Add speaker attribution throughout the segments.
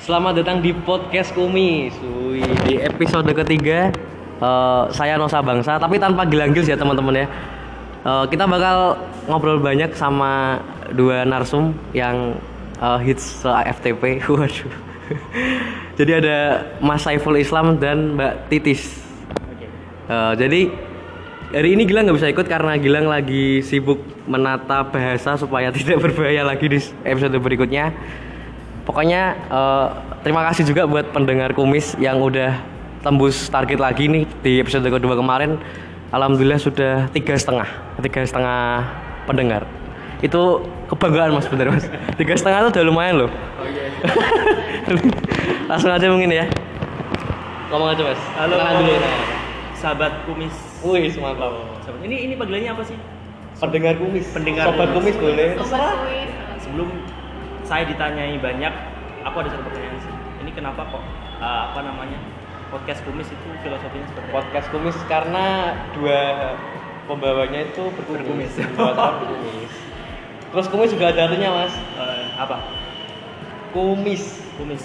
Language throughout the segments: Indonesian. Speaker 1: Selamat datang di podcast Kumis. Wih, di episode ketiga eh, saya Nosa Bangsa, tapi tanpa gelang gils ya teman-teman ya. Eh, kita bakal ngobrol banyak sama dua narsum yang eh, hits se FTP. Waduh. Jadi ada Mas Saiful Islam dan Mbak Titis. Eh, jadi hari ini Gilang nggak bisa ikut karena Gilang lagi sibuk menata bahasa supaya tidak berbahaya lagi di episode berikutnya. Pokoknya eh, terima kasih juga buat pendengar kumis yang udah tembus target lagi nih di episode kedua kemarin. Alhamdulillah sudah tiga setengah, tiga setengah pendengar. Itu kebanggaan mas, bener mas. Tiga setengah itu udah lumayan loh. Langsung aja mungkin ya. Ngomong aja mas.
Speaker 2: Halo.
Speaker 1: Kenalan dulu.
Speaker 2: Sahabat kumis.
Speaker 1: Wih, mantap.
Speaker 2: Sahabat- Ini ini panggilannya apa sih?
Speaker 1: Pendengar kumis.
Speaker 2: Pendengar
Speaker 1: Sobat kumis
Speaker 2: kumis.
Speaker 1: boleh.
Speaker 2: Sebelum saya ditanyai banyak, aku ada satu pertanyaan sih. Ini kenapa kok eh, apa namanya? Podcast kumis itu filosofinya seperti apa?
Speaker 1: Podcast kumis karena dua pembawanya itu berkumis. Buatan berkumis. Terus kumis juga ada artinya, Mas.
Speaker 2: Eh, apa?
Speaker 1: Kumis.
Speaker 2: Kumis.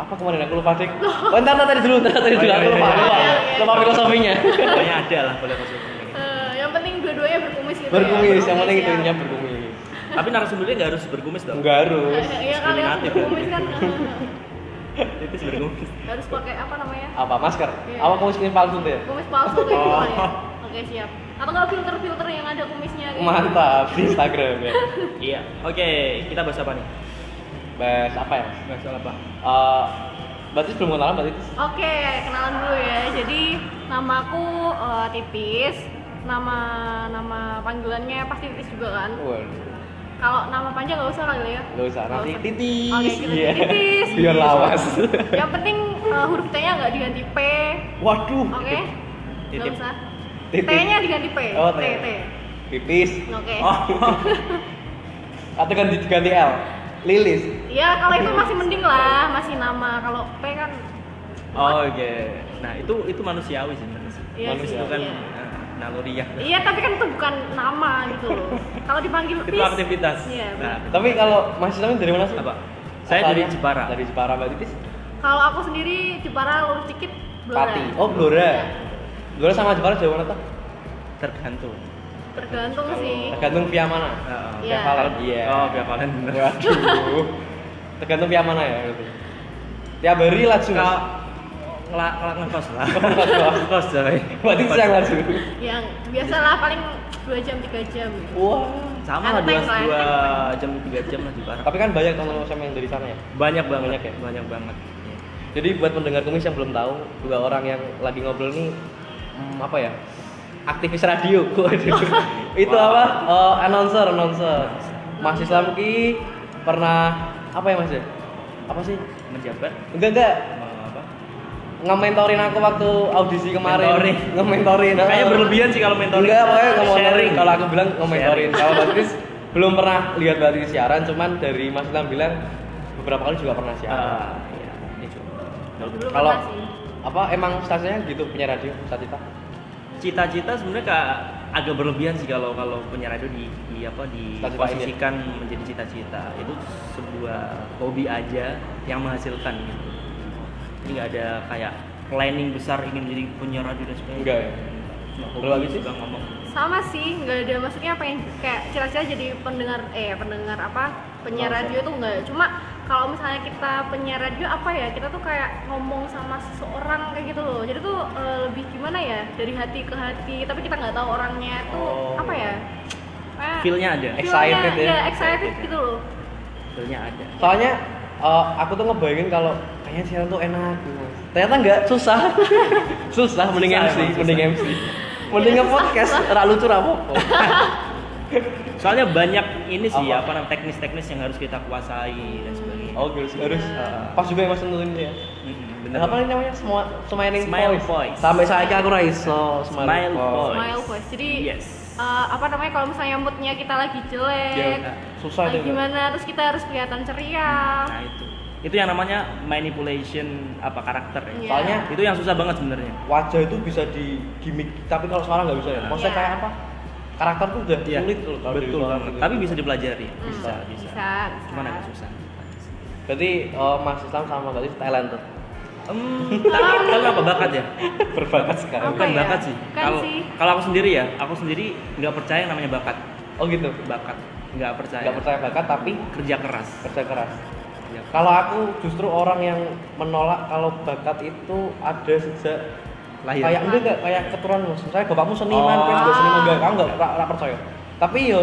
Speaker 1: Apa kemarin aku lupa, Dik? Oh, ntar, ntar, tadi dulu, ntar, tadi dulu.
Speaker 2: Oh, iya,
Speaker 1: Aku
Speaker 2: iya,
Speaker 1: lupa, lupa.
Speaker 2: iya,
Speaker 3: iya, iya.
Speaker 1: Lupa filosofinya.
Speaker 2: Pokoknya ada lah boleh filosofi.
Speaker 3: Eh, yang penting dua-duanya berkumis gitu. ya.
Speaker 1: Berkumis, yang penting
Speaker 3: ya.
Speaker 1: itu intinya berkumis.
Speaker 2: Tapi narasumbernya nggak harus berkumis dong.
Speaker 1: Enggak harus.
Speaker 3: Eh, Iya kan yang
Speaker 1: ya.
Speaker 2: Diskriminatif.
Speaker 3: berkumis kan
Speaker 2: Itu berkumis.
Speaker 3: harus pakai apa namanya?
Speaker 1: Apa masker?
Speaker 3: Iya.
Speaker 1: Apa kumis ini palsu tuh ya?
Speaker 3: Kumis palsu kayak gitu
Speaker 2: Oh.
Speaker 3: kali ya. Oke, siap. Atau nggak filter-filter yang ada kumisnya gitu.
Speaker 1: Mantap di Instagram ya.
Speaker 2: Iya. Oke, kita bahas apa nih?
Speaker 1: Mas apa ya? Mas?
Speaker 2: Bahas soal apa?
Speaker 1: Eh, Mbak Tis belum kenalan, Mbak Tis.
Speaker 3: Oke, kenalan dulu ya. Jadi namaku eh, Titis. Nama nama panggilannya pasti Titis juga kan.
Speaker 1: Waduh.
Speaker 3: Kalau nama panjang nggak usah kali ya.
Speaker 1: Gak usah, nanti
Speaker 3: Nggak
Speaker 1: titis.
Speaker 3: Oke, kita
Speaker 1: Iya.
Speaker 3: titis.
Speaker 1: Biar lawas.
Speaker 3: Yang penting eh, huruf T-nya nggak diganti P.
Speaker 1: Waduh.
Speaker 3: Oke. Nggak
Speaker 2: Titip.
Speaker 3: usah.
Speaker 1: Titip.
Speaker 3: T-nya diganti P.
Speaker 1: Oh,
Speaker 3: T.
Speaker 1: T.
Speaker 3: T.
Speaker 1: Titis.
Speaker 3: Oke.
Speaker 2: Oh,
Speaker 1: Atau ganti ganti L. Lilis.
Speaker 3: Iya, kalau itu masih mending lah, masih nama. Kalau P kan
Speaker 2: Oh, oke. Nah, itu itu manusiawi sih manusia.
Speaker 3: Iya
Speaker 1: Manusia
Speaker 3: sih,
Speaker 2: Itu kan
Speaker 3: iya.
Speaker 2: eh, naluriah.
Speaker 3: Iya, tapi kan itu bukan nama gitu loh. Kalau dipanggil
Speaker 2: Itu
Speaker 3: Pis,
Speaker 2: aktivitas.
Speaker 3: Iya,
Speaker 2: Nah,
Speaker 1: Tapi kalau Mas Islam dari mana sih?
Speaker 2: apa? Saya
Speaker 1: Asalnya?
Speaker 2: dari Jepara.
Speaker 1: Dari Jepara Mbak Titis.
Speaker 3: Kalau aku sendiri Jepara lurus dikit Blora.
Speaker 1: Pati. Oh,
Speaker 3: Iya.
Speaker 1: Blora. Blora sama Jepara jauh mana tuh?
Speaker 2: Tergantung.
Speaker 3: Tergantung sih.
Speaker 2: Oh.
Speaker 1: Tergantung via mana?
Speaker 2: Heeh.
Speaker 3: Iya.
Speaker 1: Via Valen. Iya.
Speaker 2: Oh, biar kalian bener.
Speaker 1: Waduh. Tergantung via mana ya berarti. Tiap hari langsung.
Speaker 2: Kalau ngelak ngelak ngekos lah. Ngekos coy.
Speaker 1: Mbak Titis yang langsung.
Speaker 3: Yang biasalah paling 2 jam 3 jam. gitu.
Speaker 1: Wah.
Speaker 2: Sama lah dua
Speaker 3: Enteng lah,
Speaker 2: dua
Speaker 3: enteng.
Speaker 2: jam tiga jam lah Jepara.
Speaker 1: Tapi kan banyak teman-teman sama yang dari sana ya.
Speaker 2: Banyak banget.
Speaker 1: Banyak ya?
Speaker 2: Banyak banget.
Speaker 1: Jadi buat pendengar kumis yang belum tahu, dua orang yang lagi ngobrol nih hmm, apa ya? Aktivis radio. Waduh. Itu
Speaker 2: Wow.
Speaker 1: apa? Eh, announcer, announcer. Mas Islam Ki pernah apa ya Mas ya? Apa sih?
Speaker 2: Menjabat
Speaker 1: Enggak enggak
Speaker 2: mau apa?
Speaker 1: nge-mentorin aku waktu audisi kemarin.
Speaker 2: Mentoring.
Speaker 1: Nge-mentorin. Oh.
Speaker 2: Kayaknya berlebihan sih kalau mentoring.
Speaker 1: Enggak, pokoknya nge-mentorin.
Speaker 2: Sharing. Ah, iya.
Speaker 1: Kalau aku bilang nge-mentorin.
Speaker 2: Sharing.
Speaker 1: Kalau Mbak Titis belum pernah lihat Mbak Titis siaran, cuman dari Mas Islam bilang beberapa kali juga pernah siaran.
Speaker 2: Ah, iya. Ini cuma.
Speaker 3: Dulu
Speaker 1: Kalau-
Speaker 3: pernah sih.
Speaker 1: Apa emang stasiunnya gitu punya radio, Satita?
Speaker 2: cita-cita sebenarnya ka- agak berlebihan sih kalau kalau penyiar radio di, di apa
Speaker 1: Cita-citain ya?
Speaker 2: diposisikan menjadi cita-cita itu sebuah hobi aja yang menghasilkan gitu ini nggak ada kayak planning besar ingin menjadi penyiar radio dan sebagainya
Speaker 1: Enggak ya?
Speaker 2: Cuma
Speaker 1: Lu
Speaker 2: hobi
Speaker 1: habis
Speaker 2: suka ngomong
Speaker 3: Sama sih, nggak ada maksudnya pengen kayak cita-cita jadi pendengar eh pendengar apa? Penyiar
Speaker 1: Oke.
Speaker 3: radio tuh nggak. Cuma kalau misalnya kita penyiar radio apa ya? Kita tuh kayak ngomong sama seseorang kayak gitu loh. Jadi tuh eh, lebih gimana ya? Dari hati ke hati, tapi kita nggak tahu orangnya itu
Speaker 2: Oh.
Speaker 3: apa ya? Kayak
Speaker 2: feelnya ada Eh,
Speaker 3: feel-nya,
Speaker 1: Excited ya?
Speaker 3: iya, excited gitu loh.
Speaker 2: feelnya ada
Speaker 1: Soalnya eh, aku tuh ngebayangin kalau kayaknya siaran tuh enak gitu. Ternyata enggak, susah. susah mending
Speaker 2: Susah
Speaker 1: MC,
Speaker 2: emang, susah.
Speaker 1: mending MC. Mending
Speaker 3: Iya,
Speaker 1: nge-podcast, ra lucu ra apa-apa.
Speaker 2: soalnya banyak ini sih
Speaker 1: Apa?
Speaker 2: apa namanya teknis-teknis yang harus kita kuasai dan sebagainya
Speaker 1: Oh, harus harus
Speaker 2: Iya.
Speaker 1: pas juga yang Mas nentuin ya.
Speaker 2: Mm-mm,
Speaker 1: Bener.
Speaker 2: bener
Speaker 1: Apa namanya? Semua smiling
Speaker 2: Smile
Speaker 1: voice.
Speaker 2: voice.
Speaker 1: Sampai saya aku ra iso
Speaker 2: Smile
Speaker 1: smiling voice.
Speaker 2: voice.
Speaker 3: Smile voice. Jadi
Speaker 2: Yes.
Speaker 3: eh, apa namanya kalau misalnya moodnya kita lagi jelek,
Speaker 1: Ya, susah
Speaker 3: lagi
Speaker 1: deh.
Speaker 3: gimana terus kita harus kelihatan ceria.
Speaker 2: nah itu itu yang namanya manipulation apa karakter ya
Speaker 3: Iya.
Speaker 1: Soalnya
Speaker 2: itu yang susah banget sebenarnya
Speaker 1: wajah itu bisa di gimmick, tapi kalau suara nggak bisa ya. Maksudnya
Speaker 3: Iya.
Speaker 1: kayak apa? Karakter tuh udah
Speaker 2: Iya.
Speaker 1: sulit loh kalau dari
Speaker 2: betul
Speaker 1: suara
Speaker 2: banget.
Speaker 1: gitu.
Speaker 2: tapi bisa dipelajari
Speaker 3: Hmm,
Speaker 2: bisa
Speaker 3: bisa,
Speaker 2: bisa
Speaker 3: bisa.
Speaker 2: cuman agak susah
Speaker 1: Berarti eh, Mas Islam sama Mbak Liv talented.
Speaker 2: Em, talent talent apa bakat ya?
Speaker 1: Berbakat sekali.
Speaker 3: Apa
Speaker 2: Bukan
Speaker 3: ya?
Speaker 2: bakat sih.
Speaker 3: Kan
Speaker 2: Kalau
Speaker 3: sih.
Speaker 2: kalau aku sendiri ya, aku sendiri nggak percaya yang namanya bakat.
Speaker 1: Oh gitu.
Speaker 2: Bakat, nggak percaya.
Speaker 1: Gak percaya bakat tapi
Speaker 2: Kerja keras. Ya,
Speaker 1: kerja keras.
Speaker 2: Kerja keras.
Speaker 1: Kalau aku justru orang yang menolak kalau bakat itu ada sejak
Speaker 2: Lahir.
Speaker 1: kayak enggak enggak kayak keturunan mas. Misalnya bapakmu seniman,
Speaker 2: Oh.
Speaker 1: kan juga seniman enggak, kamu enggak enggak percaya. Tapi yo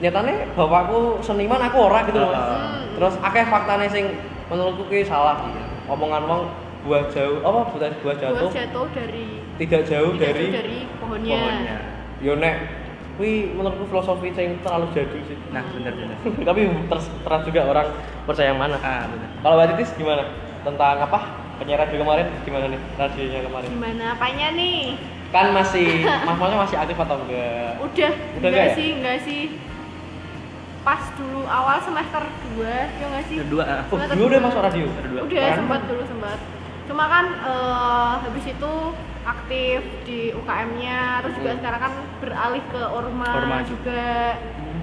Speaker 1: nyatane bapakku seniman aku ora gitu loh. Mas.
Speaker 3: Hmm,
Speaker 2: Ah.
Speaker 1: Terus akeh faktane sing menurutku ki salah. Omongan wong buah jauh apa buah, buah jatuh
Speaker 3: Buat jatuh dari
Speaker 1: tidak jauh
Speaker 3: tidak
Speaker 1: dari
Speaker 3: jauh dari pohonnya.
Speaker 2: Pokoknya.
Speaker 1: yo nek kuwi menurutku filosofi sing terlalu jadi sih.
Speaker 2: Nah, benar benar.
Speaker 1: Tapi ter- terus juga orang percaya yang mana.
Speaker 2: Ah, benar.
Speaker 1: Kalau Mbak Titis gimana? Tentang apa? Penyiar radio kemarin gimana nih? Radionya kemarin.
Speaker 3: Gimana apanya nih?
Speaker 1: Kan masih Mas Molnya masih aktif atau enggak? Udah
Speaker 3: Udah, enggak
Speaker 1: nggak ya?
Speaker 3: sih, enggak sih. Pas dulu awal semester 2, ya enggak sih?
Speaker 2: Ada dua. ah.
Speaker 1: Oh, dulu udah masuk radio.
Speaker 2: Ada dua.
Speaker 3: Udah
Speaker 1: Keren.
Speaker 3: sempat dulu sempat. Cuma kan eh, habis itu aktif di UKM-nya, terus juga
Speaker 1: Hmm.
Speaker 3: sekarang kan beralih ke Orma,
Speaker 2: Orma
Speaker 3: juga.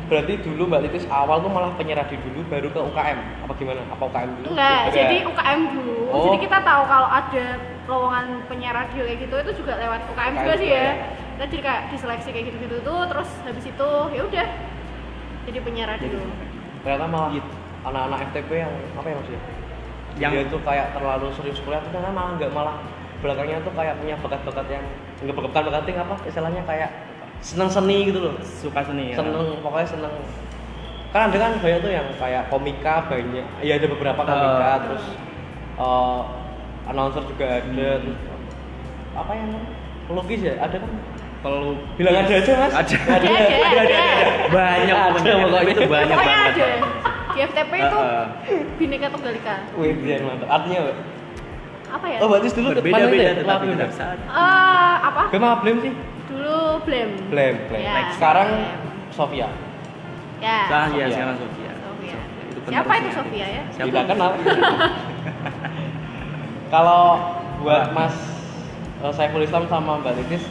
Speaker 1: Berarti dulu Mbak Titis awal tuh malah penyiar radio dulu baru ke UKM. Apa gimana? Apa UKM dulu?
Speaker 3: Enggak, jadi UKM dulu.
Speaker 1: Oh.
Speaker 3: Jadi kita tahu kalau ada lowongan penyiar radio kayak gitu itu juga lewat UKM juga
Speaker 1: UKM
Speaker 3: sih
Speaker 1: juga
Speaker 3: ya.
Speaker 1: ya.
Speaker 3: Kita jadi kayak diseleksi kayak gitu-gitu tuh terus habis itu ya udah jadi penyiar radio.
Speaker 2: Jadi-
Speaker 1: ternyata malah
Speaker 2: Gitu.
Speaker 1: anak-anak FTP yang apa ya maksudnya?
Speaker 2: Yang-
Speaker 1: dia tuh kayak terlalu serius kuliah tuh karena malah nggak malah belakangnya tuh kayak punya bakat-bakat yang nggak bukan bakat yang apa istilahnya kayak seneng seni gitu loh
Speaker 2: Suka seni ya.
Speaker 1: seneng pokoknya seneng kan ada kan banyak tuh yang kayak komika banyak ya ada beberapa komika
Speaker 2: Eh.
Speaker 1: terus eh, announcer juga ada
Speaker 2: Hmm.
Speaker 1: terus apa yang pelukis ya ada kan
Speaker 2: Perlu
Speaker 1: bilang ada aja mas
Speaker 2: Ada.
Speaker 3: Ada ada ada.
Speaker 2: Banyak
Speaker 1: Ada,
Speaker 2: pokoknya.
Speaker 1: pokoknya itu
Speaker 2: banyak
Speaker 3: Pokoknya
Speaker 2: banget.
Speaker 3: ada. Di FTP itu
Speaker 2: Heeh.
Speaker 3: Bhinneka Tunggal Ika.
Speaker 1: wih dia yang mantap artinya apa?
Speaker 3: Apa ya?
Speaker 1: oh berarti dulu
Speaker 2: Berbeda-beda tetapi
Speaker 1: lagu
Speaker 2: tetap saat.
Speaker 3: Eh, apa?
Speaker 1: Gema belum sih
Speaker 3: Dulu Blame.
Speaker 1: belum belum
Speaker 3: Ya,
Speaker 1: sekarang
Speaker 3: Blame.
Speaker 1: Sofia
Speaker 3: Ya.
Speaker 2: Sah
Speaker 1: Sofia.
Speaker 2: ya sekarang Sofia.
Speaker 3: Sofia.
Speaker 2: Itu
Speaker 3: Siapa
Speaker 2: penerusnya.
Speaker 3: itu Sofia ya?
Speaker 2: Siapa?
Speaker 1: tidak kenal kalau buat mas eh, Saiful Islam sama Mbak Titis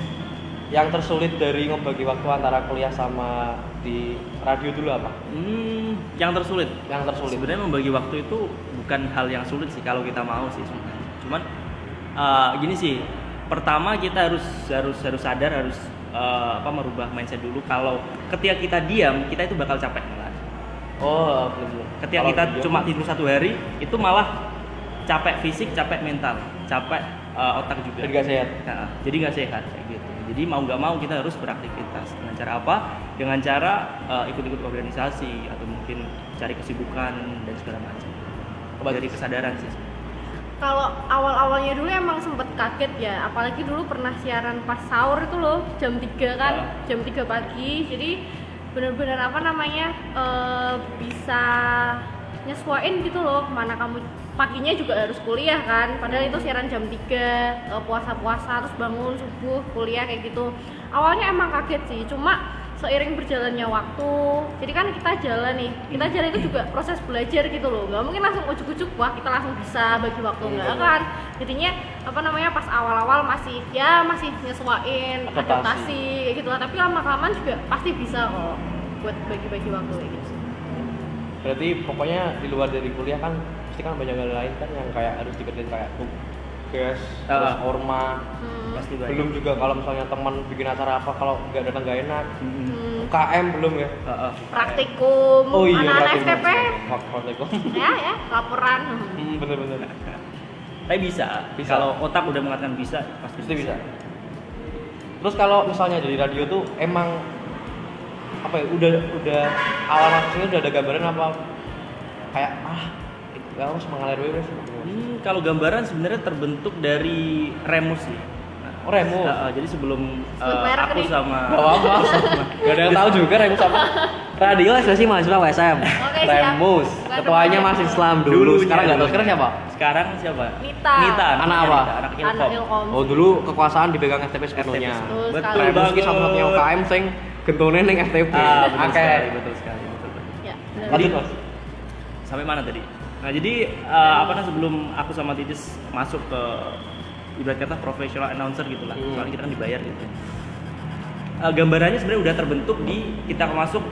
Speaker 1: yang tersulit dari ngebagi waktu antara kuliah sama di radio dulu apa
Speaker 2: Hmm, yang tersulit.
Speaker 1: yang tersulit
Speaker 2: Sebenarnya membagi waktu itu bukan hal yang sulit sih kalau kita mau sih. sebenarnya. Cuman eh, gini sih, pertama kita harus harus harus sadar harus eh, apa merubah mindset dulu kalau ketika kita diam kita itu bakal capek malah.
Speaker 1: oh belum belum.
Speaker 2: Ketika
Speaker 1: Kalau
Speaker 2: kita
Speaker 1: video, kan?
Speaker 2: cuma tidur satu hari itu malah capek fisik, capek mental, capek eh, otak juga.
Speaker 1: jadi gak sehat
Speaker 2: Nah, jadi nggak sehat kayak gitu. Jadi mau nggak mau kita harus beraktivitas dengan cara apa? Dengan cara eh, ikut-ikut organisasi atau mungkin cari kesibukan dan segala macam. Dari kesadaran sih.
Speaker 3: Kalau awal-awalnya dulu emang sempet kaget ya, apalagi dulu pernah siaran pas sahur itu loh, jam 3 kan,
Speaker 2: Ah.
Speaker 3: jam 3 pagi. Jadi bener-bener apa namanya eh, bisa nyesuain gitu loh, mana kamu paginya juga harus kuliah kan, padahal itu siaran jam 3, eh, puasa-puasa terus bangun subuh kuliah kayak gitu. Awalnya emang kaget sih, cuma seiring berjalannya waktu jadi kan kita jalan nih kita jalan itu juga proses belajar gitu loh nggak mungkin langsung ujuk-ujuk wah kita langsung bisa bagi waktu enggak kan jadinya apa namanya pas awal-awal masih ya masih nyesuain
Speaker 1: Adaptasi.
Speaker 3: adaptasi kayak gitu lah tapi lama-kelamaan juga pasti bisa kok buat bagi-bagi waktu kayak gitu
Speaker 1: berarti pokoknya di luar dari kuliah kan pasti kan banyak hal lain kan yang kayak harus dikerjain kayak tugas terus
Speaker 2: Ah. Iya,
Speaker 1: orma
Speaker 3: Hmm.
Speaker 2: Pasti banyak.
Speaker 1: belum juga kalau misalnya teman bikin acara apa kalau nggak datang nggak enak
Speaker 2: Mm-mm.
Speaker 3: Hmm.
Speaker 1: KM belum ya
Speaker 2: Heeh.
Speaker 3: praktikum
Speaker 1: Oh iya,
Speaker 3: anak-anak
Speaker 1: berarti
Speaker 3: FTP
Speaker 1: belum. Wak- praktikum.
Speaker 3: ya ya laporan Hmm.
Speaker 1: Hmm, bener-bener.
Speaker 2: Tapi bisa.
Speaker 1: Bisa.
Speaker 2: Kalau otak udah mengatakan bisa, pasti
Speaker 1: Pasti bisa. Terus kalau misalnya dari radio tuh emang apa ya? Udah udah awal masuknya udah ada gambaran apa? Kayak ah, ya harus mengalir wes.
Speaker 2: Hmm, kalau gambaran sebenarnya terbentuk dari remus sih.
Speaker 1: Oh, remus.
Speaker 2: Heeh, jadi sebelum
Speaker 3: Sebut
Speaker 2: eh,
Speaker 3: merek
Speaker 2: aku
Speaker 3: nih.
Speaker 2: sama
Speaker 1: Gak apa-apa. Gak ada yang tahu juga Remus apa.
Speaker 4: Radio Asosiasi Mahasiswa USM.
Speaker 3: oke siap
Speaker 1: Remus.
Speaker 4: Ketuanya Mas Islam
Speaker 2: Dulunya,
Speaker 4: dulu, sekarang nggak tahu sekarang siapa?
Speaker 2: sekarang siapa?
Speaker 3: Nita.
Speaker 1: Anak apa?
Speaker 2: Nita, Anak Ilkom.
Speaker 3: anak ilkom
Speaker 1: Oh dulu kekuasaan dipegang FTP sepenuhnya.
Speaker 3: sepenuhnya. Betul
Speaker 2: Betul
Speaker 3: sekali.
Speaker 1: Remus
Speaker 2: banget.
Speaker 1: ki satu-satunya UKM sing gentone ning FTP.
Speaker 2: Ah,
Speaker 1: Oke.
Speaker 2: betul sekali, betul sekali, betul sekali.
Speaker 3: ya benar.
Speaker 1: Lanjut, Mas.
Speaker 2: Sampai mana tadi? Nah, jadi eh, apa namanya sebelum aku sama Titis masuk ke ibarat kata profesional announcer gitu lah.
Speaker 1: Hmm.
Speaker 2: Soalnya kita kan dibayar gitu. Eh, gambarannya sebenarnya udah terbentuk di kita masuk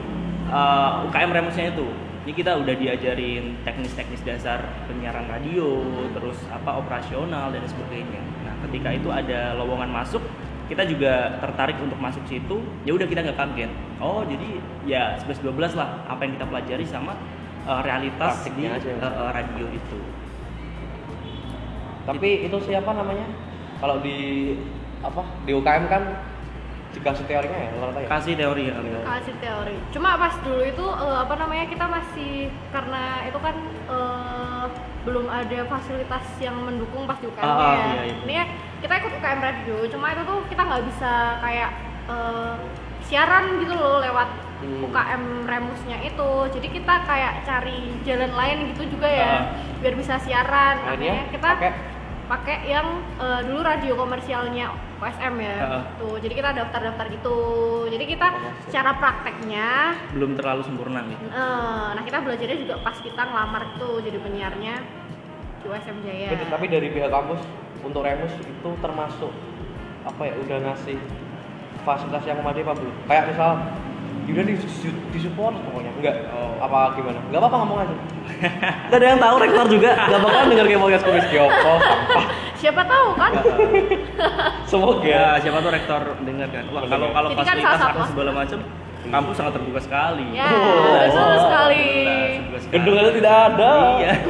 Speaker 2: eh, UKM Remusnya itu. ini kita udah diajarin teknis-teknis dasar penyiaran radio terus apa operasional dan sebagainya nah ketika itu ada lowongan masuk kita juga tertarik untuk masuk situ ya udah kita nggak kaget oh jadi ya 11 12 lah apa yang kita pelajari sama eh, realitas
Speaker 1: Praktiknya
Speaker 2: di
Speaker 1: aja ya.
Speaker 2: eh, eh, radio itu
Speaker 1: Tapi itu siapa namanya? Kalau di apa di UKM kan dikasih teorinya ya rata ya.
Speaker 2: kasih teori ya Amel.
Speaker 3: kasih teori cuma pas dulu itu eh, apa namanya kita masih karena itu kan eh, belum ada fasilitas yang mendukung pas di UKM -nya
Speaker 2: Ah,
Speaker 3: ya
Speaker 2: iya, iya.
Speaker 3: ini ya, kita ikut UKM radio cuma itu tuh kita nggak bisa kayak eh, siaran gitu loh lewat
Speaker 1: Hmm.
Speaker 3: UKM remusnya itu jadi kita kayak cari jalan lain gitu juga
Speaker 2: Ah.
Speaker 3: ya biar bisa siaran
Speaker 1: Akhirnya
Speaker 3: akhirnya kita
Speaker 1: pakai-
Speaker 3: pakai yang eh, dulu radio komersialnya USM ya
Speaker 2: Ah.
Speaker 3: tuh jadi kita daftar-daftar gitu jadi kita cara prakteknya
Speaker 2: belum terlalu sempurna nih
Speaker 3: eh, nah kita belajarnya juga pas kita ngelamar tuh jadi penyiarnya di USM Jaya
Speaker 1: Tapi, tapi dari pihak kampus untuk Remus itu termasuk apa ya udah ngasih fasilitas yang memadai apa belum? Kayak misal udah di, support pokoknya enggak
Speaker 2: Oh.
Speaker 1: apa gimana enggak apa-apa ngomong aja enggak ada yang tahu rektor juga enggak bakalan denger kayak podcast komis Giopo sampah.
Speaker 3: siapa tahu kan
Speaker 1: semoga
Speaker 2: ya siapa tuh rektor dengar kan wah
Speaker 1: ya.
Speaker 2: kalau kalau
Speaker 3: Jadi kan
Speaker 2: fasilitas
Speaker 3: salah satu
Speaker 2: apa segala macam kampus sangat terbuka sekali
Speaker 3: ya
Speaker 1: Oh.
Speaker 3: betul sekali
Speaker 2: Terbuka sekali.
Speaker 1: gedung itu tidak ada
Speaker 2: Iya.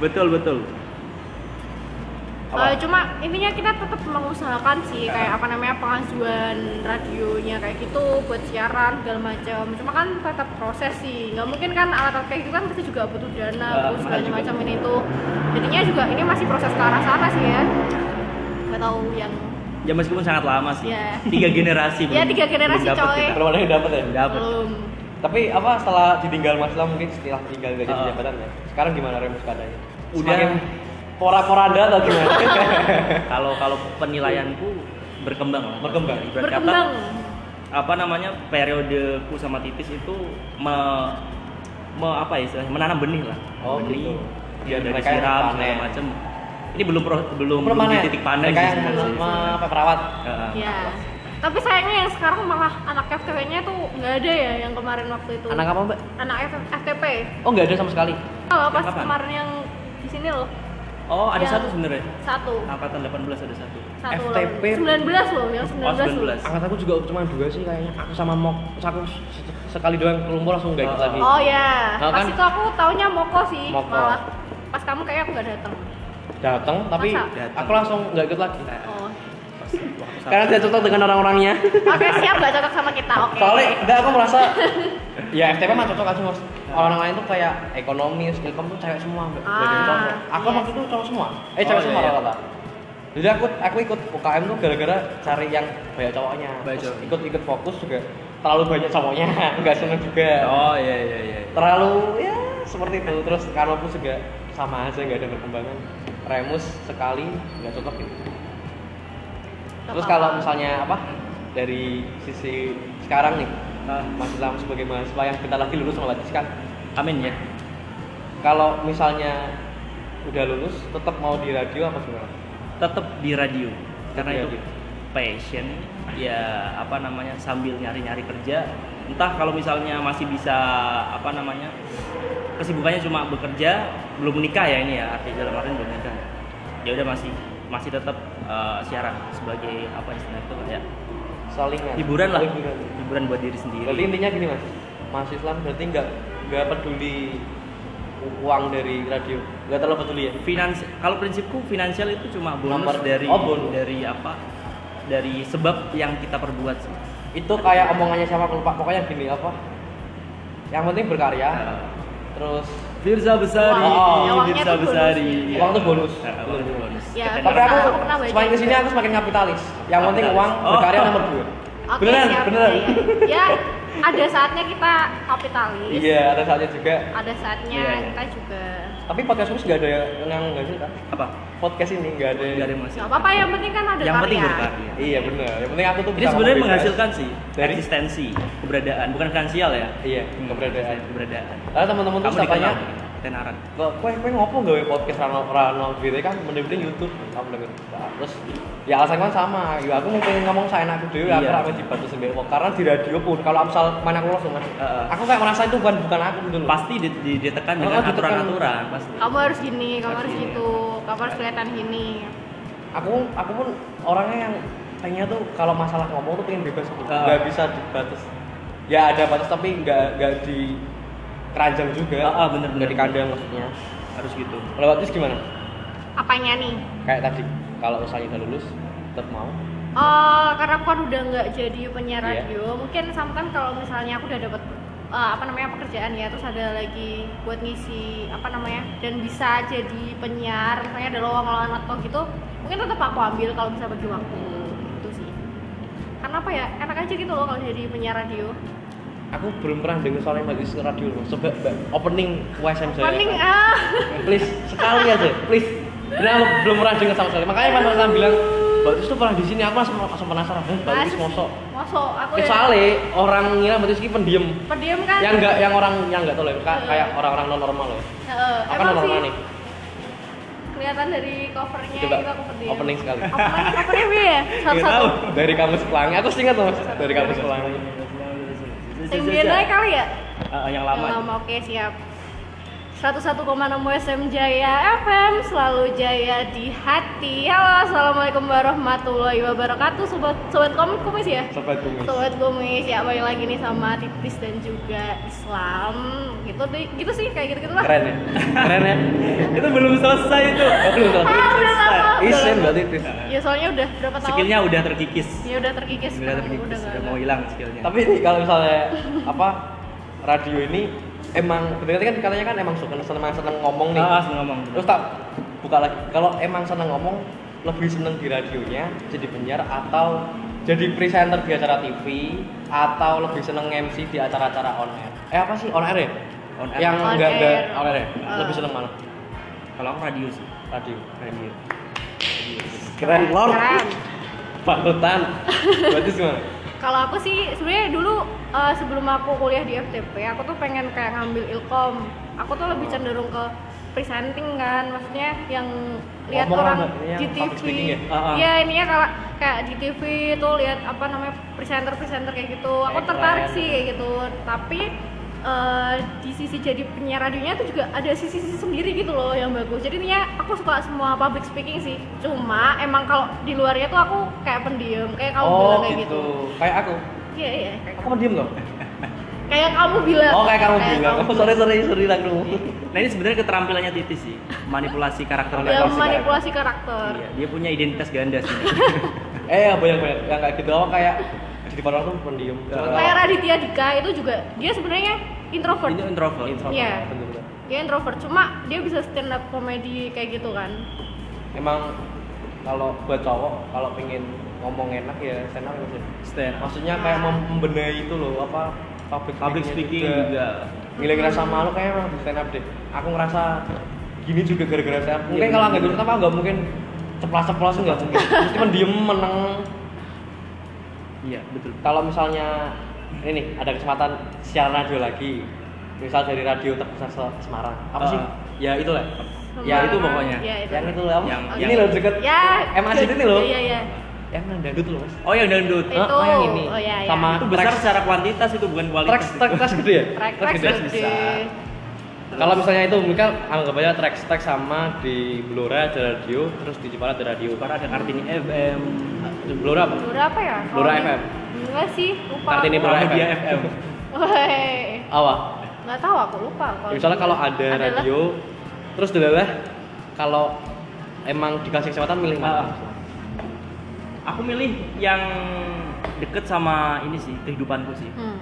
Speaker 2: betul betul.
Speaker 1: Apa?
Speaker 3: Eh, cuma intinya kita tetap mengusahakan sih kayak apa namanya pengajuan radionya kayak gitu buat siaran segala macam cuma kan tetap proses sih nggak mungkin kan alat-alat kayak gitu kan pasti juga butuh
Speaker 2: Eh,
Speaker 3: dana butuh
Speaker 2: mahal
Speaker 3: segala
Speaker 2: juga.
Speaker 3: macam ini itu jadinya juga ini masih proses ke arah sana sih ya nggak tahu yang
Speaker 2: Ya meskipun sangat lama sih.
Speaker 3: Iya.
Speaker 2: Tiga generasi.
Speaker 3: Iya,
Speaker 2: belum-
Speaker 3: tiga generasi,
Speaker 2: belum dapet
Speaker 3: coy.
Speaker 2: kita.
Speaker 1: belum ada yang dapat ya
Speaker 2: Belum dapet.
Speaker 3: belum
Speaker 1: tapi apa setelah ditinggal Mas Lam mungkin setelah tinggal gaji
Speaker 2: Ah.
Speaker 1: jabatan ya sekarang gimana Remus keadaannya
Speaker 2: Udah.
Speaker 1: Semakin pora-poranda atau gimana
Speaker 2: Kalau kalau penilaianku berkembang lah.
Speaker 1: Berkembang.
Speaker 2: Ibarat kata,
Speaker 3: berkembang
Speaker 2: apa namanya periodeku sama titis itu me, me- apa ya istilahnya menanam benih lah.
Speaker 1: Oh,
Speaker 2: benih.
Speaker 1: gitu.
Speaker 2: Ya,
Speaker 1: Biar
Speaker 2: dari
Speaker 1: mereka yang
Speaker 2: siram segala
Speaker 1: panen.
Speaker 2: macam. Ini belum pro- belum,
Speaker 1: Belum
Speaker 2: belum
Speaker 1: panen.
Speaker 2: di titik panen
Speaker 1: mereka
Speaker 2: sih
Speaker 1: yang
Speaker 2: sebenarnya.
Speaker 1: apa perawat
Speaker 2: Heeh.
Speaker 3: ya tapi sayangnya yang sekarang malah anak FTP-nya tuh nggak ada ya yang kemarin waktu itu
Speaker 1: anak apa mbak
Speaker 3: anak F- FTP
Speaker 1: oh nggak ada sama sekali
Speaker 3: oh, pas
Speaker 2: kapan?
Speaker 3: kemarin yang di sini loh
Speaker 2: Oh, ada
Speaker 3: Yang-
Speaker 2: satu sebenarnya.
Speaker 3: satu
Speaker 2: Angkatan 18 ada satu. Oh,
Speaker 3: satu
Speaker 1: FTP.
Speaker 3: lawan- 19 loh yang 19, loh
Speaker 2: 19.
Speaker 1: angkat aku juga cuma dua sih kayaknya aku sama mok aku se- sekali doang ke lumpur langsung nggak ikut
Speaker 2: Ah.
Speaker 1: lagi
Speaker 3: Oh ya,
Speaker 1: Nah,
Speaker 3: pas
Speaker 1: kan-
Speaker 3: itu aku taunya Moko sih
Speaker 1: Moko.
Speaker 3: malah. Pas kamu kayak aku nggak datang.
Speaker 1: datang tapi
Speaker 3: Masa?
Speaker 2: Datang.
Speaker 1: aku langsung nggak ikut lagi
Speaker 2: Eh,
Speaker 3: Oh.
Speaker 1: karena tidak cocok dengan orang-orangnya
Speaker 3: Oke siap nggak cocok sama kita. Oke.
Speaker 1: soalnya enggak aku merasa ya FTP mah cocok aja mas orang lain tuh kayak ekonomi skillcom tuh cewek semua Mbak. Gak ada yang
Speaker 3: Ah,
Speaker 1: cowok aku
Speaker 3: iya
Speaker 1: waktu itu cowok semua eh
Speaker 2: Oh,
Speaker 1: cewek
Speaker 2: iya,
Speaker 1: semua
Speaker 2: iya.
Speaker 1: rata-rata jadi aku aku ikut UKM tuh gara-gara cari yang banyak cowoknya
Speaker 2: Banyak
Speaker 1: Terus
Speaker 2: cowoknya.
Speaker 1: ikut-ikut fokus juga terlalu banyak cowoknya nggak seneng juga
Speaker 2: Oh iya iya iya.
Speaker 1: terlalu ya seperti itu terus kampus juga sama aja nggak ada perkembangan remus sekali nggak cocok gitu
Speaker 3: Nggak
Speaker 1: terus
Speaker 3: apa-apa.
Speaker 1: kalau misalnya apa dari sisi sekarang nih
Speaker 2: Nah,
Speaker 1: Mas Ilham sebagai mahasiswa yang bentar lagi lulus sama Latis kan
Speaker 2: amin ya.
Speaker 1: kalau misalnya udah lulus tetap mau di radio apa gimana?
Speaker 2: Tetap di radio karena
Speaker 1: Di
Speaker 2: itu
Speaker 1: radio.
Speaker 2: passion ya apa namanya sambil nyari-nyari kerja entah kalau misalnya masih bisa apa namanya kesibukannya cuma bekerja belum menikah ya ini ya artinya dalam artian belum menikah ya udah masih masih tetap eh, siaran sebagai apa istilahnya itu kayak
Speaker 1: Salingan.
Speaker 2: hiburan lah
Speaker 1: Hiburan.
Speaker 2: hiburan buat diri sendiri
Speaker 1: Berarti intinya gini mas, Mas Islam berarti nggak nggak peduli u- uang dari radio, nggak terlalu peduli ya?
Speaker 2: finans kalau prinsipku finansial itu cuma bonus
Speaker 1: Nomor-
Speaker 2: dari
Speaker 1: oh, bonus.
Speaker 2: dari apa dari sebab yang kita perbuat sih
Speaker 1: Itu kayak omongannya siapa aku lupa, pokoknya gini apa? Yang penting berkarya,
Speaker 2: Nah,
Speaker 1: terus
Speaker 2: Firza Besari,
Speaker 1: Uang-
Speaker 3: uangnya
Speaker 2: Firza
Speaker 3: tuh bonus.
Speaker 2: Besari.
Speaker 1: Uang tuh bonus.
Speaker 2: Nah, uang tuh bonus.
Speaker 3: Ya,
Speaker 2: Ketenaran.
Speaker 1: tapi
Speaker 3: Karena
Speaker 1: aku,
Speaker 3: aku pernah baca
Speaker 1: semakin kesini
Speaker 3: juga.
Speaker 1: aku semakin kapitalis. Yang penting
Speaker 2: Kapitalis.
Speaker 1: uang,
Speaker 2: Oh.
Speaker 1: berkarya nomor dua.
Speaker 3: Oke,
Speaker 1: beneran,
Speaker 3: siap,
Speaker 1: beneran.
Speaker 3: Ya, ya. Ya, ada saatnya kita kapitalis.
Speaker 1: Iya, ada saatnya juga.
Speaker 3: Ada saatnya
Speaker 2: Iya, iya.
Speaker 3: kita juga.
Speaker 1: Tapi podcast terus nggak ada yang yang nggak sih kan?
Speaker 2: Apa?
Speaker 1: podcast ini nggak ada
Speaker 2: Enggak ada yang masuk.
Speaker 3: Gak Eh, apa-apa yang penting kan ada
Speaker 2: Yang
Speaker 3: karya.
Speaker 2: penting berkarya.
Speaker 1: iya benar yang penting aku tuh
Speaker 2: Ini
Speaker 1: bisa
Speaker 2: sebenarnya
Speaker 1: ngomong gitu bebas.
Speaker 2: menghasilkan sih
Speaker 1: Dari?
Speaker 2: eksistensi, keberadaan, bukan finansial ya.
Speaker 1: iya
Speaker 2: Hmm,
Speaker 1: keberadaan
Speaker 2: keberadaan.
Speaker 1: lalu teman-teman tuh
Speaker 2: Kamu
Speaker 1: suka
Speaker 2: dikenal.
Speaker 1: tanya
Speaker 2: tenaran
Speaker 1: Kok kue kue ngopo gawe podcast Rano Rano gitu kan mending YouTube kamu denger. Nah, Terus ya alasan kan sama. Ya aku mau pengen ngomong saya enakku dhewe aku
Speaker 2: Iya.
Speaker 1: ora dibatasi mbek wong. Karena di radio pun kalau misal main aku langsung Mas.
Speaker 2: Heeh.
Speaker 1: Aku kayak merasa itu bukan bukan aku gitu loh.
Speaker 2: pasti di- di- ditekan
Speaker 1: Oh,
Speaker 2: dengan
Speaker 1: ditekan.
Speaker 2: aturan-aturan pasti
Speaker 3: kamu harus gini kamu
Speaker 2: Harus
Speaker 3: harus
Speaker 2: gini.
Speaker 3: gitu kamu harus kelihatan gini
Speaker 1: Aku aku pun orangnya yang pengennya tuh kalau masalah ngomong tuh pengen bebas gitu.
Speaker 2: Heeh.
Speaker 1: Nggak bisa dibatas. Ya ada batas tapi nggak nggak di keranjang juga.
Speaker 2: Heeh, bener, bener.
Speaker 1: Nggak di kandang maksudnya.
Speaker 2: harus gitu
Speaker 1: Lewat terus gimana?
Speaker 3: apanya nih
Speaker 1: Kayak tadi kalau usahanya udah lulus tetap mau.
Speaker 3: Eh, karena aku kan udah nggak jadi penyiar
Speaker 1: Iya.
Speaker 3: radio mungkin sometimes kalau misalnya aku udah dapat apa namanya pekerjaan ya terus ada lagi buat ngisi apa namanya dan bisa jadi penyiar misalnya ada lowongan-lowongan atau gitu mungkin tetap aku ambil kalau bisa bagi waktu itu sih karena apa ya enak aja gitu loh kalau jadi penyiar radio
Speaker 1: aku belum pernah dengar soalnya Mbak Yusuf radio loh. Coba Mbak opening USM saya.
Speaker 3: paling ah
Speaker 1: please sekali aja, please. Karena aku belum pernah dengar sama sekali. Makanya pas orang bilang Mbak Yusuf tuh pernah di sini, aku langsung langsung penasaran. Eh, Mbak Yusuf
Speaker 3: masih-
Speaker 1: mosok.
Speaker 3: mosok aku ya-
Speaker 1: Kecuali orang ngira Mbak Yusuf ini pendiam.
Speaker 3: pendiam kan
Speaker 1: Yang enggak yang orang yang enggak tahu loh, Ka-
Speaker 3: Heeh.
Speaker 1: kayak orang-orang non normal loh.
Speaker 3: Heeh,
Speaker 1: Aku
Speaker 3: Iya. emang
Speaker 1: non normal
Speaker 3: sih
Speaker 1: nih.
Speaker 3: kelihatan dari covernya
Speaker 1: Coba
Speaker 3: itu iya, aku pendiam
Speaker 1: opening sekali.
Speaker 3: opening covernya B ya satu satu
Speaker 1: Dari kamus pelangi, aku sih ingat loh, Mas.
Speaker 3: Iya.
Speaker 1: dari kamus pelangi.
Speaker 3: yang dia naik kali ya
Speaker 2: Eh, yang
Speaker 3: yang
Speaker 2: lama
Speaker 3: lama oke siap 101,6 USM Jaya FM selalu jaya di hati. Halo, assalamualaikum warahmatullahi wabarakatuh. Sobat sobat komik kumis ya.
Speaker 1: Sobat kumis.
Speaker 3: Sobat kumis ya balik lagi nih sama tipis dan juga Islam. Gitu deh, gitu sih kayak gitu gitulah.
Speaker 1: Keren ya. Keren ya.
Speaker 2: itu belum selesai itu
Speaker 1: Oh, belum tahu.
Speaker 3: Ah, udah lama.
Speaker 1: Isen berarti tis.
Speaker 3: Ya soalnya udah berapa tahun?
Speaker 2: skillnya udah terkikis
Speaker 3: Ya udah terkikis.
Speaker 2: udah
Speaker 3: sekarang,
Speaker 2: terkikis
Speaker 3: nggak
Speaker 2: udah
Speaker 3: ada.
Speaker 2: mau hilang skillnya
Speaker 1: Tapi ini kalau misalnya apa radio ini emang berarti kan katanya kan emang suka seneng seneng ngomong nih.
Speaker 2: Ah, ah, seneng ngomong
Speaker 1: Terus tak buka lagi. Kalau emang seneng ngomong lebih seneng di radionya jadi penyiar atau jadi presenter di acara TV atau lebih seneng MC di acara-acara on air. Eh apa sih on air ya?
Speaker 2: On air.
Speaker 1: Yang
Speaker 3: On
Speaker 1: enggak ada
Speaker 3: air.
Speaker 1: on air ya?
Speaker 3: Ah.
Speaker 1: Lebih seneng mana?
Speaker 2: kalau aku radio sih
Speaker 1: Radio.
Speaker 2: radio
Speaker 1: Keren lor.
Speaker 3: Keren.
Speaker 1: Panutan. Berarti gimana?
Speaker 3: Kalau aku sih sebenarnya dulu eh, sebelum aku kuliah di FTP, aku tuh pengen kayak ngambil ilkom. Aku tuh lebih cenderung ke presenting kan, maksudnya yang lihat
Speaker 1: Ngomong
Speaker 3: orang
Speaker 1: apa? Ini yang
Speaker 3: di
Speaker 1: public speaking
Speaker 3: TV.
Speaker 1: ya?
Speaker 2: Ah, ah.
Speaker 3: Iya, ini ya kalau kayak di TV tuh lihat apa namanya presenter-presenter kayak gitu. Aku
Speaker 1: Kayak
Speaker 3: tertarik
Speaker 1: keren.
Speaker 3: sih kayak gitu. Tapi eh, di sisi jadi penyiar radionya tuh juga ada sisi-sisi sendiri gitu loh yang bagus. Jadi intinya aku suka semua public speaking sih. Cuma emang kalau di luarnya tuh aku kayak pendiam, kayak kamu bilang kayak gitu.
Speaker 1: Oh, Kayak aku.
Speaker 3: Iya iya. kayak
Speaker 1: Aku pendiam loh.
Speaker 3: kayak kamu bilang.
Speaker 1: Oh kayak kamu bilang.
Speaker 3: Iya. kamu
Speaker 1: Oh sorry sorry sorry lah dulu.
Speaker 2: nah ini sebenarnya keterampilannya titis sih manipulasi karakter
Speaker 3: Dia
Speaker 1: Manipulasi
Speaker 3: manipulasi karakter.
Speaker 2: Iya, dia punya identitas ganda sih
Speaker 1: eh banyak banyak yang kayak gitu. Oh kayak di depan orang tuh pendiam. Cuma
Speaker 2: Iya.
Speaker 3: Kayak
Speaker 1: kalau-
Speaker 3: Raditya Dika itu juga dia sebenarnya introvert.
Speaker 2: ini introvert
Speaker 1: Introvert,
Speaker 3: Iya.
Speaker 1: bener-bener.
Speaker 3: Dia introvert, cuma dia bisa stand up comedy kayak gitu kan.
Speaker 1: Emang kalau buat cowok kalau pengen ngomong enak ya senang gitu.
Speaker 2: stand up.
Speaker 1: Maksudnya kayak
Speaker 3: Ah.
Speaker 1: mem- membenahi itu loh apa public,
Speaker 2: Oh, public speaking juga
Speaker 1: Nilai ngerasa malu kayak emang di stand up deh. Aku ngerasa gini juga gara-gara stand up. Mungkin
Speaker 2: Iya,
Speaker 1: kalau
Speaker 2: bener.
Speaker 1: nggak dulu pertama nggak mungkin ceplas-ceplos nggak mungkin. Mesti pendiam meneng.
Speaker 2: iya betul
Speaker 1: Kalau misalnya ini nih, ada kesempatan siaran radio lagi. Misal dari radio terbesar se- Semarang. Apa sih?
Speaker 2: Ah.
Speaker 1: Ya itulah.
Speaker 2: Ya, itu
Speaker 3: Semarang.
Speaker 2: pokoknya.
Speaker 3: Ya itu.
Speaker 1: Yang itu loh. apa?
Speaker 2: Yang-
Speaker 1: ini
Speaker 2: yang-
Speaker 1: loh deket.
Speaker 3: Ya.
Speaker 1: MRC itu nih loh.
Speaker 3: Iya iya.
Speaker 1: Yang dangdut loh, Mas.
Speaker 2: oh yang dangdut
Speaker 3: Itu.
Speaker 1: Oh, yang ini.
Speaker 3: Oh iya iya.
Speaker 1: Sama
Speaker 2: itu besar
Speaker 1: Trax.
Speaker 2: secara kuantitas itu bukan
Speaker 1: Trax,
Speaker 2: kualitas
Speaker 1: trax, trax gede ya?
Speaker 3: Track
Speaker 1: Trax
Speaker 3: track
Speaker 1: gede.
Speaker 3: gede.
Speaker 2: bisa.
Speaker 1: Kalau misalnya itu mereka anggap aja track track sama di Blora ada radio, terus di Jepara ada radio.
Speaker 2: Para ada Kartini FM
Speaker 1: Di Blora apa?
Speaker 3: Lura apa ya? Kalau
Speaker 1: Lura
Speaker 3: di-
Speaker 1: FM.
Speaker 3: Enggak sih, lupa.
Speaker 1: Kartini
Speaker 3: aku.
Speaker 1: Pro.
Speaker 2: Pramedia FM
Speaker 3: Weh.
Speaker 1: Awa.
Speaker 3: Nggak tahu aku lupa
Speaker 1: Ya,
Speaker 3: kalau.
Speaker 1: misalnya kalau ada
Speaker 3: Adalah-
Speaker 1: radio, terus delalah kalau emang dikasih kesempatan milih mana?
Speaker 2: Ah. aku milih yang deket sama ini sih kehidupanku sih
Speaker 3: Hmm.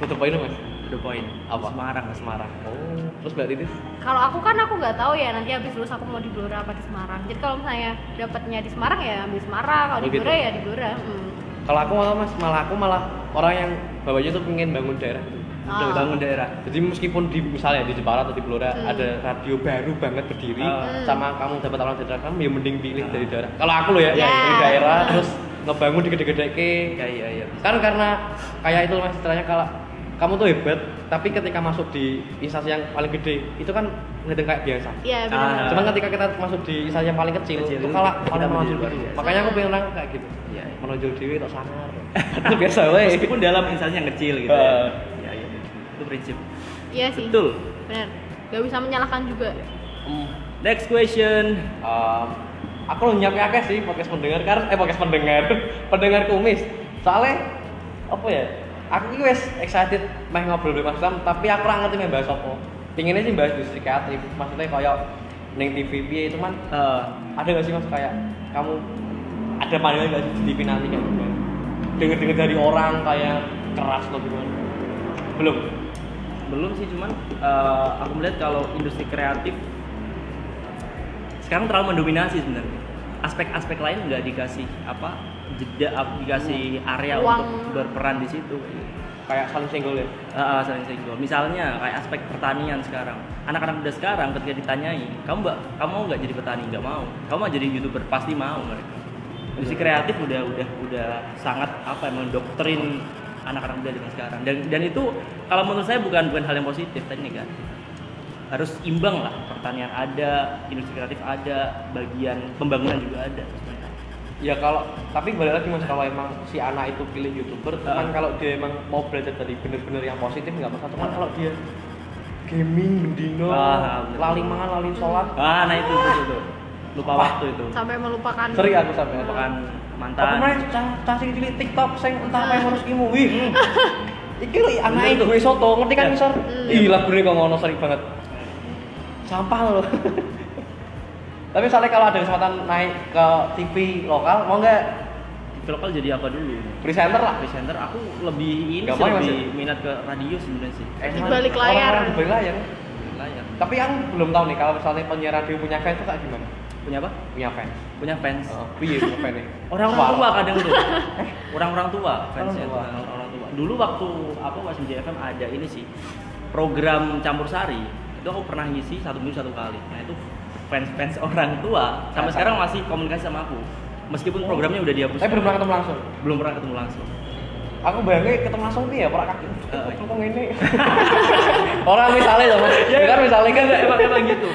Speaker 1: Tutup poin mas.
Speaker 2: to the point
Speaker 1: Apa?
Speaker 2: Semarang Semarang
Speaker 1: Oh, terus berarti Titis?
Speaker 3: Kalau aku kan aku nggak tahu ya nanti habis lulus aku mau di Blora apa di Semarang. Jadi kalau misalnya dapatnya di Semarang ya ambil Semarang, kalau di
Speaker 1: Oh, gitu.
Speaker 3: Blora ya di Blora. Hmm.
Speaker 1: Kalau aku malah mas, malah aku malah orang yang bawahnya tuh pengen bangun daerah. gitu.
Speaker 3: Ah.
Speaker 2: bangun daerah
Speaker 1: Jadi meskipun di misalnya di Jepara atau di Blora
Speaker 3: Hmm.
Speaker 1: ada radio baru banget berdiri,
Speaker 2: Hmm.
Speaker 1: sama kamu dapat tawaran dari daerah kamu, ya mending pilih dari daerah. Kalau aku loh ya,
Speaker 3: Hmm. Ya.
Speaker 1: dari daerah terus ngebangun di gede-gede ke.
Speaker 2: iya iya iya
Speaker 1: Kan karena kayak itu mas, istilahnya kalau kamu tuh hebat tapi ketika masuk di instansi yang paling gede itu kan ngeliatin kayak biasa
Speaker 3: Iya
Speaker 2: Ah.
Speaker 3: benar.
Speaker 1: cuman ketika kita masuk di instansi yang paling kecil,
Speaker 2: Kecil,
Speaker 1: itu kalah paling
Speaker 2: kita menjadi
Speaker 1: maju
Speaker 2: luar
Speaker 1: gitu
Speaker 2: biasa.
Speaker 1: makanya aku pengen orang kayak gitu
Speaker 2: Iya, iya.
Speaker 1: menonjol diri itu sangar itu biasa weh
Speaker 2: meskipun dalam instansi yang kecil gitu ya.
Speaker 1: Eh. Ah.
Speaker 2: Iya, iya. itu prinsip
Speaker 3: Iya sih.
Speaker 2: betul
Speaker 3: Benar. Gak bisa menyalahkan juga.
Speaker 1: Hmm,
Speaker 2: next question
Speaker 1: um, aku lo nyiapin akeh sih podcast pendengar karena eh podcast pendengar pendengar kumis soalnya apa ya aku ini wes excited main ngobrol dengan Mas Islam tapi aku ora ngerti main bahas apa pinginnya sih bahas industri kreatif maksudnya kayak neng TV piye cuman
Speaker 2: Eh,
Speaker 1: ada gak sih mas kayak kamu ada pandangan gak sih di TV nanti kayak gimana? Dengar-dengar dari orang kayak keras atau gimana? Belum.
Speaker 2: belum sih cuman eh, aku melihat kalau industri kreatif sekarang terlalu mendominasi sebenarnya aspek-aspek lain nggak dikasih apa jeda ap- dikasih
Speaker 1: Hmm.
Speaker 2: area
Speaker 3: Ruang.
Speaker 2: untuk berperan di situ
Speaker 1: Kayak saling senggol ya.
Speaker 2: Ah, ah, saling senggol. Misalnya kayak aspek pertanian sekarang. Anak-anak muda sekarang ketika ditanyai, kamu mbak, kamu mau nggak jadi petani? Nggak mau. Kamu mau jadi youtuber? Pasti mau mereka. Industri kreatif udah udah udah sangat apa ya, mendoktrin anak-anak muda dengan sekarang. Dan dan itu kalau menurut saya bukan bukan hal yang positif, tapi negatif. Harus imbang lah. Pertanian ada, industri kreatif ada, bagian pembangunan juga ada. sebenarnya.
Speaker 1: Ya kalau tapi balik lagi mas kalau emang si anak itu pilih youtuber, cuman
Speaker 2: Ah.
Speaker 1: kalau dia emang mau belajar dari bener-bener yang positif nggak masalah. Cuman kalau dia gaming, dino,
Speaker 2: Ah, bener.
Speaker 1: lali mangan, lali sholat,
Speaker 2: Ah, nah itu itu, itu. Lupa
Speaker 1: Apa?
Speaker 2: waktu itu.
Speaker 3: Sampai melupakan.
Speaker 1: sering aku sampai apa
Speaker 2: Merupakan
Speaker 1: Aku
Speaker 2: mantan.
Speaker 1: main cah cah sing cilik TikTok sing entah apa yang ngurus imu. Wih. hmm. Iki lho
Speaker 2: Bener
Speaker 1: anake
Speaker 2: tuh.
Speaker 1: gue soto, ngerti kan
Speaker 2: Ya.
Speaker 1: misor?
Speaker 3: Hmm.
Speaker 1: Ih, lagune kok ngono sering banget. Sampah lho. Tapi soalnya kalau ada kesempatan naik ke TV lokal, mau nggak
Speaker 2: Di lokal jadi apa dulu?
Speaker 1: presenter lah?
Speaker 2: presenter aku lebih ini
Speaker 1: Gak
Speaker 2: sih,
Speaker 1: apa-apa,
Speaker 2: lebih
Speaker 1: ya, Mas.
Speaker 2: minat ke radio sebenarnya sih
Speaker 3: Di balik
Speaker 1: Orang-orang
Speaker 3: layar.
Speaker 1: Di balik layar.
Speaker 2: layar
Speaker 1: Tapi aku belum tahu nih kalau misalnya penyiar radio punya fans itu kayak gimana?
Speaker 2: punya apa
Speaker 1: Punya fans.
Speaker 2: punya fans
Speaker 1: Heeh. Piye punya fans nih?
Speaker 2: orang-orang tua kadang tuh orang-orang tua fansnya
Speaker 1: Eh. Orang tua.
Speaker 2: orang orang tua dulu waktu apa pas di FM ada ini sih program campur sari itu aku pernah ngisi satu minggu satu kali nah itu fans-fans orang tua
Speaker 1: Sama.
Speaker 2: sampai sekarang masih komunikasi sama aku meskipun
Speaker 1: Nah. Oh.
Speaker 2: programnya udah dihapus
Speaker 1: Tapi belum pernah ketemu langsung.
Speaker 2: belum pernah ketemu langsung
Speaker 1: aku bayangin ketemu langsung nih ya prak kaki
Speaker 2: Heeh.
Speaker 1: kok ini orang misalnya ya mas
Speaker 2: Iya.
Speaker 1: ya kan misalnya kan
Speaker 2: emang emang gitu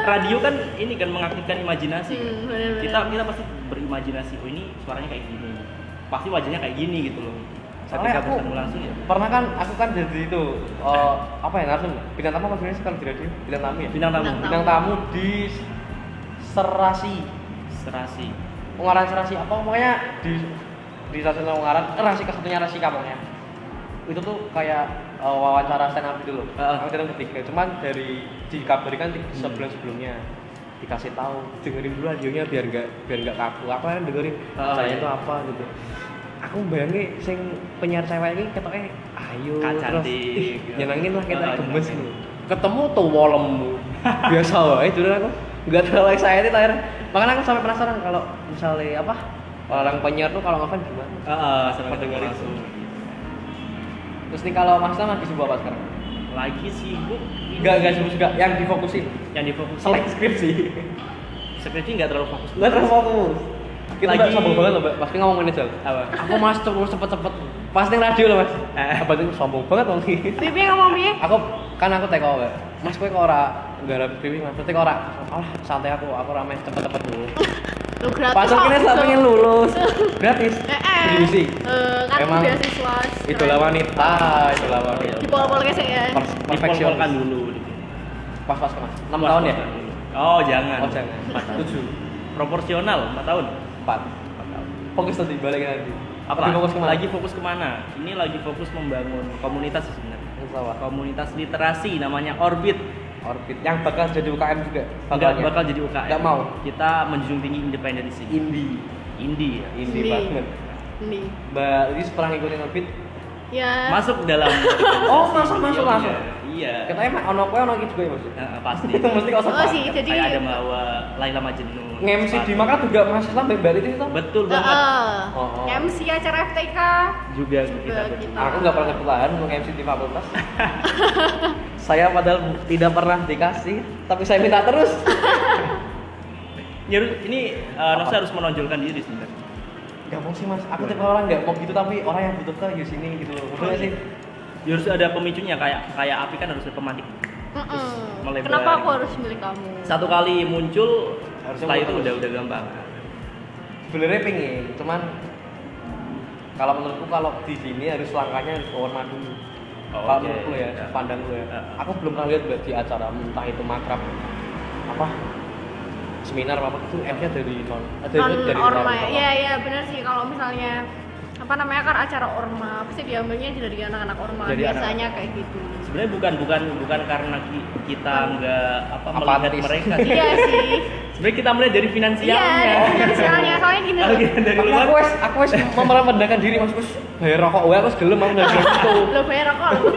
Speaker 2: radio kan ini kan mengaktifkan imajinasi kan.
Speaker 3: Hmm, benar-benar.
Speaker 2: kita kita pasti berimajinasi oh ini suaranya kayak gini pasti wajahnya kayak gini gitu loh
Speaker 1: Soalnya
Speaker 2: ketika
Speaker 1: aku-
Speaker 2: bertemu langsung ya
Speaker 1: pernah kan aku kan jadi itu eh, apa ya narsum bintang tamu apa sebenarnya kalau di radio bintang tamu ya
Speaker 2: bintang tamu
Speaker 3: Bintang
Speaker 1: bintang tamu di serasi
Speaker 2: serasi
Speaker 1: pengarang serasi apa pokoknya di di stasiun pengarang serasi kesatunya rasi kampungnya itu tuh kayak eh, wawancara stand up gitu loh
Speaker 2: Heeh.
Speaker 1: aku datang ketiga cuman dari dikabarkan di sebulan sebelumnya dikasih tahu Hmm. dengerin dulu radionya biar nggak biar nggak kaku apa yang dengerin
Speaker 2: Heeh.
Speaker 1: saya itu apa gitu aku bayangin sing penyiar cewek ini ketoknya ayo
Speaker 2: Kak cantik.
Speaker 1: ih, nyenengin lah kita
Speaker 2: Heeh,
Speaker 1: gemes
Speaker 2: nyenengin.
Speaker 1: gitu. ketemu tuh wolemu biasa wae jujur aku nggak terlalu excited akhirnya makanya aku sampai penasaran kalau misalnya apa orang penyiar tuh kalau ngapain gimana
Speaker 2: Ah, ah,
Speaker 1: Pada
Speaker 2: sama ketemu
Speaker 1: dengerin.
Speaker 2: langsung
Speaker 1: terus nih kalau mas Tama lagi sibuk apa sekarang
Speaker 2: lagi sibuk ini
Speaker 1: nggak nggak sibuk juga yang difokusin
Speaker 2: yang difokusin
Speaker 1: selain skripsi
Speaker 2: skripsi nggak terlalu fokus
Speaker 1: nggak terlalu fokus kita
Speaker 2: Lagi-
Speaker 1: lagi... sombong banget loh mbak pasti ngomong ini Jal.
Speaker 2: apa
Speaker 1: aku mas terus cepet-cepet pasti radio loh mas
Speaker 2: Eh.
Speaker 1: apa itu sombong banget dong
Speaker 3: Bibi ngomong bibi.
Speaker 1: aku kan aku teko mbak mas kowe kok ora garap dewi mas berarti kok ora alah santai aku aku ramai cepet-cepet dulu
Speaker 3: Lu gratis.
Speaker 1: pacar
Speaker 3: kok,
Speaker 1: kene
Speaker 3: gitu.
Speaker 1: sak pengen lulus gratis
Speaker 3: Eh, eh.
Speaker 1: Jadi misi.
Speaker 3: Eh, kan
Speaker 1: Emang
Speaker 3: beasiswa.
Speaker 1: itulah wanita itulah Ah, wanita
Speaker 3: Di pol-pol kesek ya.
Speaker 1: Pers- perfeksionis.
Speaker 2: dipol-polkan dulu di sini.
Speaker 1: pas-pas kemas 6 tahun ya
Speaker 2: Pas-pasan dulu. oh jangan
Speaker 1: oh jangan 7
Speaker 2: proporsional 4 tahun
Speaker 1: 4
Speaker 2: 4 tahun
Speaker 1: fokus tadi balik lagi
Speaker 2: apa
Speaker 1: Lagi fokus kemana
Speaker 2: lagi fokus kemana ini lagi fokus membangun komunitas sih sebenarnya
Speaker 1: Insya Allah.
Speaker 2: komunitas literasi namanya orbit
Speaker 1: orbit yang bakal jadi UKM juga ya?
Speaker 2: nggak
Speaker 1: bakalnya.
Speaker 2: bakal jadi UKM
Speaker 1: Nggak mau.
Speaker 2: kita menjunjung tinggi independensi
Speaker 1: indie
Speaker 2: indie ya.
Speaker 1: indie
Speaker 3: Indie.
Speaker 1: banget
Speaker 3: Nih.
Speaker 1: mbak Lilis pernah ngikutin orbit
Speaker 3: Ya.
Speaker 2: masuk dalam
Speaker 1: Oh, masuk, masuk,
Speaker 2: Iya,
Speaker 1: masuk.
Speaker 2: iya
Speaker 1: katanya mah ono kue ono iki juga ya mas
Speaker 2: Nah, pasti
Speaker 1: itu mesti kau
Speaker 3: Oh
Speaker 1: sempat
Speaker 3: sih, jadi
Speaker 2: kayak ada bawa Laila Majnun
Speaker 1: ngemsi di maka juga mahasiswa mbak mbak Lilis itu
Speaker 2: betul banget
Speaker 3: Heeh.
Speaker 1: Oh, oh.
Speaker 3: MC acara FTK.
Speaker 2: juga kita
Speaker 3: kita.
Speaker 2: berdua.
Speaker 1: aku nggak pernah kepelahan mau ngemsi di fakultas saya padahal tidak pernah dikasih tapi saya minta terus
Speaker 2: Nyeru- Ya, ini uh, Nosa harus menonjolkan diri sebenarnya
Speaker 1: Gak mau sih mas, aku tipe orang nggak mau gitu tapi orang yang butuhkan di sini gitu loh. Maksudnya sih,
Speaker 2: Ya harus ada pemicunya kayak kayak api kan harus ada pematik.
Speaker 3: Mm-mm.
Speaker 2: melebar.
Speaker 3: Kenapa aku harus milik kamu?
Speaker 2: Satu kali muncul
Speaker 1: Harusnya
Speaker 2: setelah itu
Speaker 1: mulai
Speaker 2: udah
Speaker 1: terus.
Speaker 2: udah gampang.
Speaker 1: sebenarnya pengen cuman kalau menurutku kalau di sini harus langkahnya harus kehormatan dulu
Speaker 2: Oh,
Speaker 1: kalau
Speaker 2: oke.
Speaker 1: menurutku ya
Speaker 2: Ya.
Speaker 1: pandang gue ya.
Speaker 2: Ya.
Speaker 1: aku belum pernah lihat Mbak, di acara entah itu makrab apa seminar apa itu app-nya dari non eh, dari,
Speaker 3: non
Speaker 1: dari
Speaker 3: orma
Speaker 1: orang.
Speaker 3: ya ya benar sih kalau misalnya apa namanya kan acara orma pasti diambilnya dari anak-anak orma
Speaker 1: Dari
Speaker 3: biasanya kayak gitu
Speaker 2: Sebenarnya bukan bukan bukan karena ki- kita nggak apa melihat
Speaker 1: Apatis.
Speaker 2: mereka sih.
Speaker 3: iya sih
Speaker 2: Sebenarnya kita melihat dari
Speaker 3: iya
Speaker 2: finansialnya.
Speaker 3: dari soalnya soalnya gini
Speaker 2: Kalau
Speaker 3: loh
Speaker 2: kita dari
Speaker 1: Tapi
Speaker 2: luar
Speaker 1: aku wes aku wes merendahkan diri maksudku wes, bayar rokok gue aku wes gelem aku dari itu
Speaker 3: lo bayar rokok lo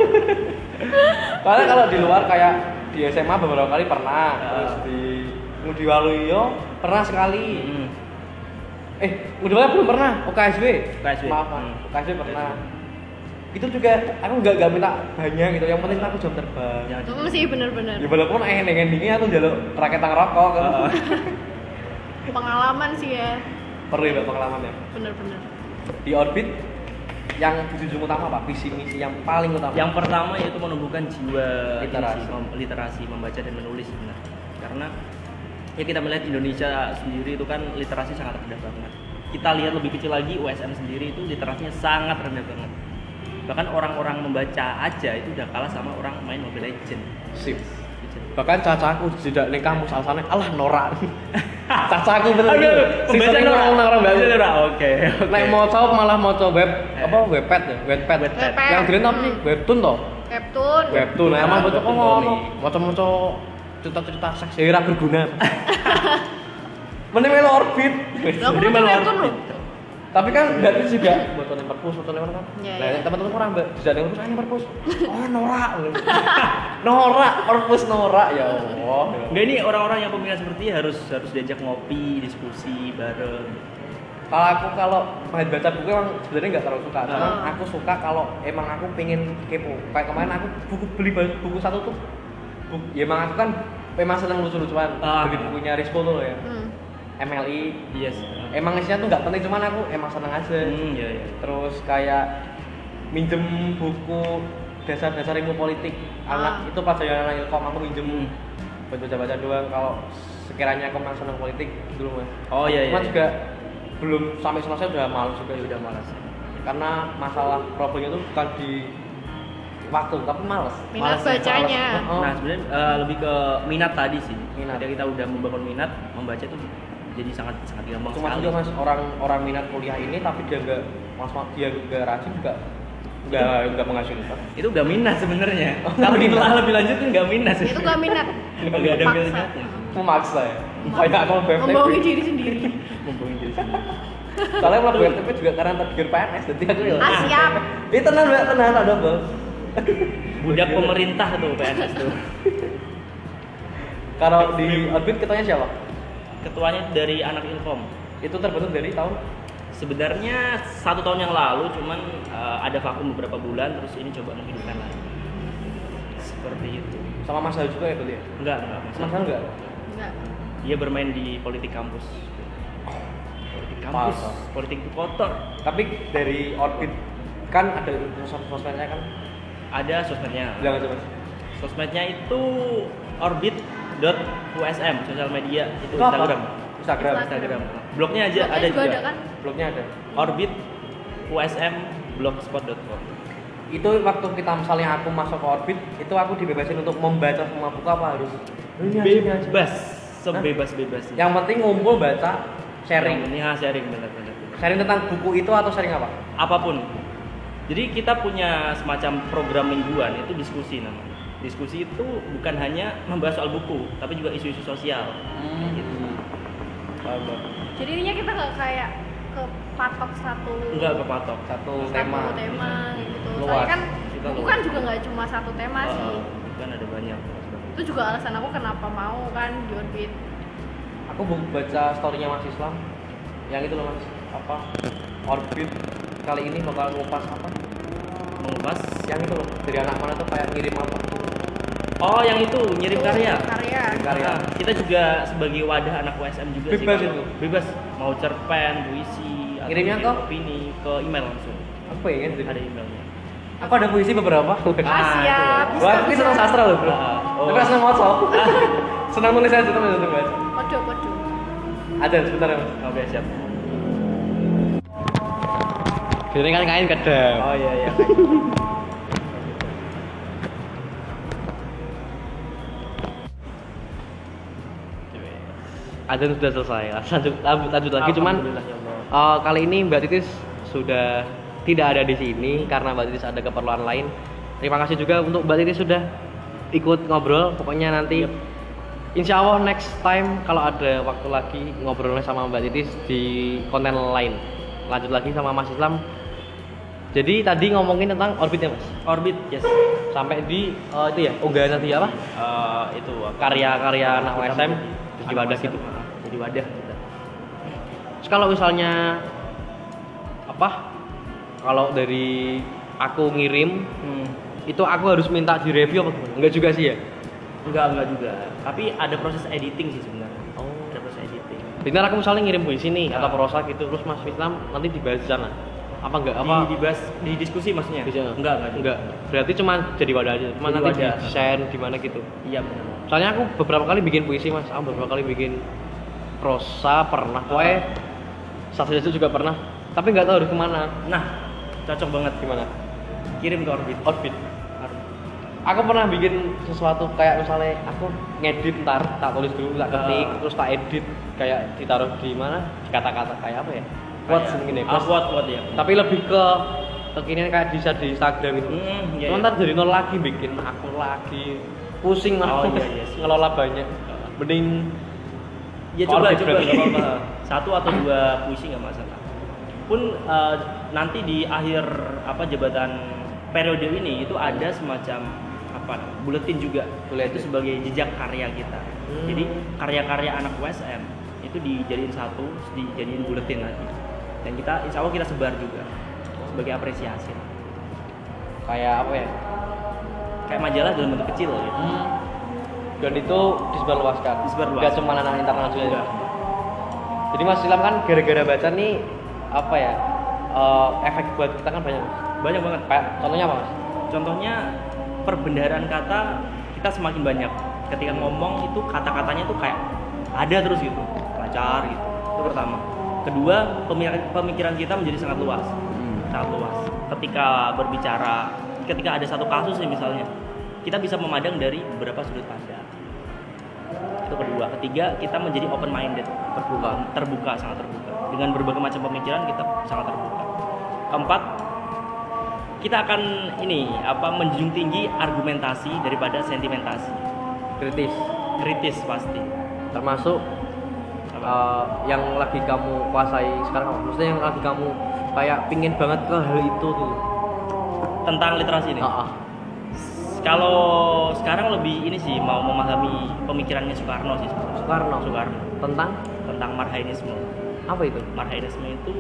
Speaker 1: karena kalau di luar kayak di SMA beberapa kali pernah
Speaker 2: Ya.
Speaker 1: terus di Ngudi Waluyo pernah sekali
Speaker 2: Hmm.
Speaker 1: eh Ngudi Waluyo belum pernah UKSB
Speaker 2: UKSW.
Speaker 1: maaf maaf,
Speaker 2: Hmm.
Speaker 1: UKSB pernah itu juga aku nggak nggak minta banyak gitu yang penting aku jam terbang
Speaker 2: Jangan-
Speaker 3: Mm, sih bener-bener
Speaker 1: ya walaupun ending endingnya aku jalur raketang rokok kan
Speaker 2: Oh, oh.
Speaker 3: pengalaman sih ya
Speaker 1: perlu ya Mbak, pengalaman ya
Speaker 3: bener-bener
Speaker 1: di orbit yang dijunjung utama pak visi misi yang paling utama
Speaker 2: Yang pertama yaitu menumbuhkan jiwa ini
Speaker 1: Literasi.
Speaker 2: sih, mem- literasi membaca dan menulis benar. Karena ya kita melihat Indonesia sendiri itu kan literasi sangat rendah banget. Kita lihat lebih kecil lagi USM sendiri itu literasinya sangat rendah banget. Bahkan orang-orang membaca aja itu udah kalah sama orang main Mobile Legend.
Speaker 1: sip bahkan cacaku tidak di kampus alasannya alah norak cacaku bener
Speaker 2: Oke,
Speaker 1: bener
Speaker 2: pembaca norak.
Speaker 1: orang orang
Speaker 2: Pembaca
Speaker 1: banget
Speaker 2: norak, Oke. oke. Eh.
Speaker 1: Nek mau coba malah mau coba web apa webpad ya webpad
Speaker 3: Webpad. Hmm.
Speaker 1: yang green apa sih webtoon toh
Speaker 3: Webtoon
Speaker 1: webtoon nah, emang mau coba
Speaker 2: Webtoon
Speaker 1: ngono
Speaker 2: Tony.
Speaker 1: mau coba cerita cerita seks ya ora berguna mending melu orbit
Speaker 3: Lah, aku
Speaker 1: Jadi
Speaker 3: baca
Speaker 1: melu
Speaker 3: webtoon
Speaker 1: orbit.
Speaker 3: loh.
Speaker 1: tapi kan berarti juga buat yang perpus buat yang mana kan
Speaker 3: Iya,
Speaker 1: nah
Speaker 3: iya.
Speaker 1: teman-teman kurang mbak tidak ada yang perpus ini perpus oh norak norak perpus norak ya allah
Speaker 2: Nggak, ini orang-orang yang pemikiran seperti harus harus diajak ngopi, diskusi bareng.
Speaker 1: kalau aku kalau main baca buku emang sebenarnya nggak terlalu suka cuman
Speaker 3: Ah.
Speaker 1: aku suka kalau emang aku pengen kepo kayak kemarin aku buku beli ba- buku satu tuh buku, ya emang aku kan memang seneng lucu-lucuan
Speaker 2: Ah.
Speaker 1: beli bukunya Rispo tuh loh ya
Speaker 3: Hmm.
Speaker 1: MLI
Speaker 2: Yes.
Speaker 1: emang isinya tuh nggak penting cuman aku emang seneng aja
Speaker 2: Hmm, ya, ya.
Speaker 1: terus kayak minjem buku dasar-dasar ilmu politik anak
Speaker 3: Ah.
Speaker 1: itu pas saya anak ilkom aku minjem
Speaker 2: Hmm.
Speaker 1: buat baca-baca doang kalau sekiranya aku memang seneng politik dulu mas
Speaker 2: Oh iya iya.
Speaker 1: cuman
Speaker 2: iya.
Speaker 1: juga belum sampai selesai udah malu juga
Speaker 2: Ya,
Speaker 1: sudah
Speaker 2: udah malas.
Speaker 1: karena masalah problemnya itu bukan di waktu tapi males
Speaker 3: Minat
Speaker 1: Malesnya,
Speaker 3: bacanya.
Speaker 1: males. Oh, oh.
Speaker 2: Nah sebenarnya eh, lebih ke minat tadi sih.
Speaker 1: Minat.
Speaker 2: Ketika kita udah membangun minat, membaca itu jadi sangat sangat gampang
Speaker 1: cuma
Speaker 2: sekali.
Speaker 1: juga mas orang orang minat kuliah ini tapi dia nggak mas dia nggak rajin juga nggak nggak menghasilkan
Speaker 2: Itu udah minat sebenarnya.
Speaker 1: Oh,
Speaker 2: Kalau
Speaker 1: minat.
Speaker 2: ditelah lebih lanjut tuh nggak minat sih.
Speaker 3: itu gak minat
Speaker 2: Nggak ada
Speaker 3: Paksa. Mm.
Speaker 2: minatnya.
Speaker 1: memaksa ya kayak aku BFTP
Speaker 3: membohongi diri sendiri
Speaker 2: Mumpung diri sendiri.
Speaker 1: soalnya kalau BFTP juga karena tergiur PNS jadi aku ya
Speaker 3: ah siap
Speaker 1: ini tenang mbak tenang ada bos
Speaker 2: Budak pemerintah tuh PNS tuh.
Speaker 1: kalau di orbit ketanya siapa
Speaker 2: Ketuanya dari anak Ilkom.
Speaker 1: itu terbentuk dari tahun
Speaker 2: Sebenarnya satu tahun yang lalu, cuman eh, ada vakum beberapa bulan, terus ini coba menghidupkan lagi. Seperti itu.
Speaker 1: sama Mas Hal juga ya berarti ya
Speaker 2: Enggak enggak
Speaker 1: Mas
Speaker 2: masalah.
Speaker 1: Hal enggak
Speaker 3: enggak
Speaker 2: Dia bermain di politik kampus. Politik kampus,
Speaker 1: Masa?
Speaker 2: politik kotor.
Speaker 1: tapi dari orbit kan ada sosmed sosmednya kan
Speaker 2: Ada sosmednya.
Speaker 1: bilang aja mas
Speaker 2: Sosmednya itu orbit.usm sosial media itu,
Speaker 1: apa?
Speaker 2: Instagram.
Speaker 1: Instagram
Speaker 3: Instagram.
Speaker 2: Instagram. Blognya aja
Speaker 3: Blognya
Speaker 2: ada
Speaker 3: juga
Speaker 2: juga.
Speaker 3: ada kan?
Speaker 1: blognya ada
Speaker 2: Orbit USM blogspot.com.
Speaker 1: itu waktu kita misalnya aku masuk ke orbit itu aku dibebasin untuk membaca semua buku apa harus ini aja, ini aja.
Speaker 2: Bebas, sebebas-bebasnya.
Speaker 1: yang penting ngumpul baca sharing
Speaker 2: Ini ah, sharing benar-benar.
Speaker 1: sharing tentang buku itu atau sharing apa
Speaker 2: Apapun. Jadi kita punya semacam program mingguan itu diskusi namanya. Diskusi itu bukan hanya membahas soal buku, tapi juga isu-isu sosial. Gitu.
Speaker 1: Paham, Bang.
Speaker 3: jadi intinya kita gak kayak kepatok satu
Speaker 2: Enggak kepatok.
Speaker 1: satu
Speaker 3: satu
Speaker 1: tema
Speaker 3: tema, gitu
Speaker 1: Luas.
Speaker 3: soalnya kan
Speaker 2: Kita
Speaker 3: buku
Speaker 2: luas.
Speaker 3: kan juga nggak cuma satu tema sih
Speaker 2: Oh, kan ada banyak.
Speaker 3: itu juga alasan aku kenapa mau kan di orbit
Speaker 1: aku bu- baca storynya Mas Islam yang itu loh mas apa orbit kali ini bakal ngupas apa
Speaker 2: Mengupas.
Speaker 1: yang itu loh dari anak mana tuh kayak ngirim apa
Speaker 2: Oh, yang itu ngirim
Speaker 3: Itu
Speaker 2: karya.
Speaker 3: karya
Speaker 1: Karya.
Speaker 2: Nah, kita juga sebagai wadah anak USM juga
Speaker 1: Bebas
Speaker 2: sih. kalau-
Speaker 1: itu?
Speaker 2: Bebas. Mau cerpen, puisi, atau
Speaker 1: Ngirimnya
Speaker 2: ngirim
Speaker 1: ke?
Speaker 2: opini ke email langsung.
Speaker 1: aku pengen sih
Speaker 2: Ada emailnya.
Speaker 1: ya, Aku ada puisi beberapa.
Speaker 3: Ah, siap. Bisa,
Speaker 1: Wah, aku
Speaker 3: bisa.
Speaker 1: senang sastra loh, bro.
Speaker 2: Ah, oh. Ah.
Speaker 1: Tapi aku senang moco. senang nulis aja, tapi senang baca.
Speaker 3: Kodo, kodo.
Speaker 1: Ada, sebentar ya, Mas.
Speaker 2: Oke, siap.
Speaker 4: Jadi kan kain kedap.
Speaker 2: Oh iya iya.
Speaker 1: Ada sudah selesai. Lanjut, lanjut, lanjut lagi. Cuman
Speaker 2: Alhamdulillah, ya Allah.
Speaker 1: eh, kali ini Mbak Titis sudah tidak ada di sini karena Mbak Titis ada keperluan lain. Terima kasih juga untuk Mbak Titis sudah ikut ngobrol. Pokoknya nanti Insya Allah next time kalau ada waktu lagi ngobrolnya sama Mbak Titis di konten lain. Lanjut lagi sama Mas Islam. Jadi tadi ngomongin tentang orbitnya Mas.
Speaker 2: Orbit, yes.
Speaker 1: Sampai di eh, itu ya unggahan tadi apa?
Speaker 2: Eh, itu apa?
Speaker 1: Karya-karya anak
Speaker 2: Kita
Speaker 1: USM
Speaker 2: menjadi-
Speaker 1: di wadah
Speaker 2: anak
Speaker 1: gitu.
Speaker 2: USM, Jadi wadah kita.
Speaker 1: Terus kalau misalnya apa? Kalau dari aku ngirim
Speaker 2: Hmm.
Speaker 1: itu aku harus minta di review apa gimana? Enggak juga sih ya.
Speaker 2: Enggak, enggak juga. Tapi ada proses editing sih sebenarnya.
Speaker 1: Oh.
Speaker 2: Ada proses editing.
Speaker 1: Jadi ntar aku misalnya ngirim puisi nih
Speaker 2: Ya.
Speaker 1: atau prosa gitu terus Mas Islam nanti dibahas di sana. Apa enggak apa?
Speaker 2: Di, dibahas di diskusi maksudnya?
Speaker 1: Bisa.
Speaker 2: Enggak, enggak. juga.
Speaker 1: Enggak. Berarti cuma jadi wadah aja. Cuma
Speaker 2: Jadi
Speaker 1: nanti di
Speaker 2: wadah.
Speaker 1: share di mana gitu.
Speaker 2: Iya benar.
Speaker 1: Soalnya aku beberapa kali bikin puisi Mas, aku beberapa kali bikin prosa pernah,
Speaker 2: Ah.
Speaker 1: pokoknya sastra itu juga pernah. Tapi nggak tahu harus kemana.
Speaker 2: Nah, cocok banget
Speaker 1: Gimana?
Speaker 2: kirim ke orbit.
Speaker 1: Outfit. aku pernah bikin sesuatu kayak misalnya aku ngedit ntar tak tulis dulu tak ketik
Speaker 2: Ah.
Speaker 1: terus tak edit kayak ditaruh di mana di kata-kata kayak apa ya quotes mungkin ya
Speaker 2: Ah,
Speaker 1: quotes.
Speaker 2: kuat, kuat ya.
Speaker 1: tapi lebih ke kekinian kayak bisa di Instagram itu
Speaker 2: Hmm, iya,
Speaker 1: Cuman
Speaker 2: iya.
Speaker 1: ntar jadi nol lagi bikin aku lagi pusing
Speaker 2: Oh,
Speaker 1: malah
Speaker 2: iya, iya.
Speaker 1: ngelola banyak mending
Speaker 2: Ya coba
Speaker 1: Orbit
Speaker 2: coba
Speaker 1: Oh, berarti.
Speaker 2: nggak apa-apa. Satu atau dua puisi nggak masalah. Pun eh, nanti di akhir apa jabatan periode ini itu ada semacam apa buletin juga
Speaker 1: Buletin.
Speaker 2: itu sebagai jejak karya kita.
Speaker 1: Hmm.
Speaker 2: Jadi karya-karya anak USM itu dijadiin satu, terus dijadiin buletin lagi. Dan kita insya Allah kita sebar juga sebagai apresiasi.
Speaker 1: kayak apa ya
Speaker 2: Kayak majalah dalam bentuk kecil gitu.
Speaker 1: dan itu disebarluaskan
Speaker 2: Disebarluaskan.
Speaker 1: nggak cuma anak internal juga
Speaker 2: Enggak.
Speaker 1: jadi mas Islam kan gara-gara baca nih apa ya eh, efek buat kita kan banyak
Speaker 2: Banyak banget.
Speaker 1: kayak contohnya apa mas
Speaker 2: Contohnya perbendaharaan kata kita semakin banyak. Ketika ngomong itu kata-katanya tuh kayak ada terus gitu, lancar gitu. Itu pertama. Kedua, pemikiran, pemikiran kita menjadi sangat luas.
Speaker 1: Hmm.
Speaker 2: Sangat luas. Ketika berbicara, ketika ada satu kasus nih misalnya, kita bisa memandang dari beberapa sudut pandang. Itu kedua. Ketiga, kita menjadi open minded,
Speaker 1: Terbuka.
Speaker 2: terbuka, sangat terbuka. Dengan berbagai macam pemikiran kita sangat terbuka. Keempat, kita akan ini apa menjunjung tinggi argumentasi daripada sentimentasi
Speaker 1: kritis
Speaker 2: kritis pasti
Speaker 1: termasuk
Speaker 2: Apa?
Speaker 1: eh, yang lagi kamu kuasai sekarang apa? maksudnya yang lagi kamu kayak pingin banget ke hal itu tuh
Speaker 2: tentang literasi ini
Speaker 1: Ah, ah.
Speaker 2: kalau sekarang lebih ini sih mau memahami pemikirannya Soekarno sih sebenarnya.
Speaker 1: Soekarno
Speaker 2: Soekarno
Speaker 1: tentang
Speaker 2: tentang marhainisme
Speaker 1: apa itu
Speaker 2: marhainisme itu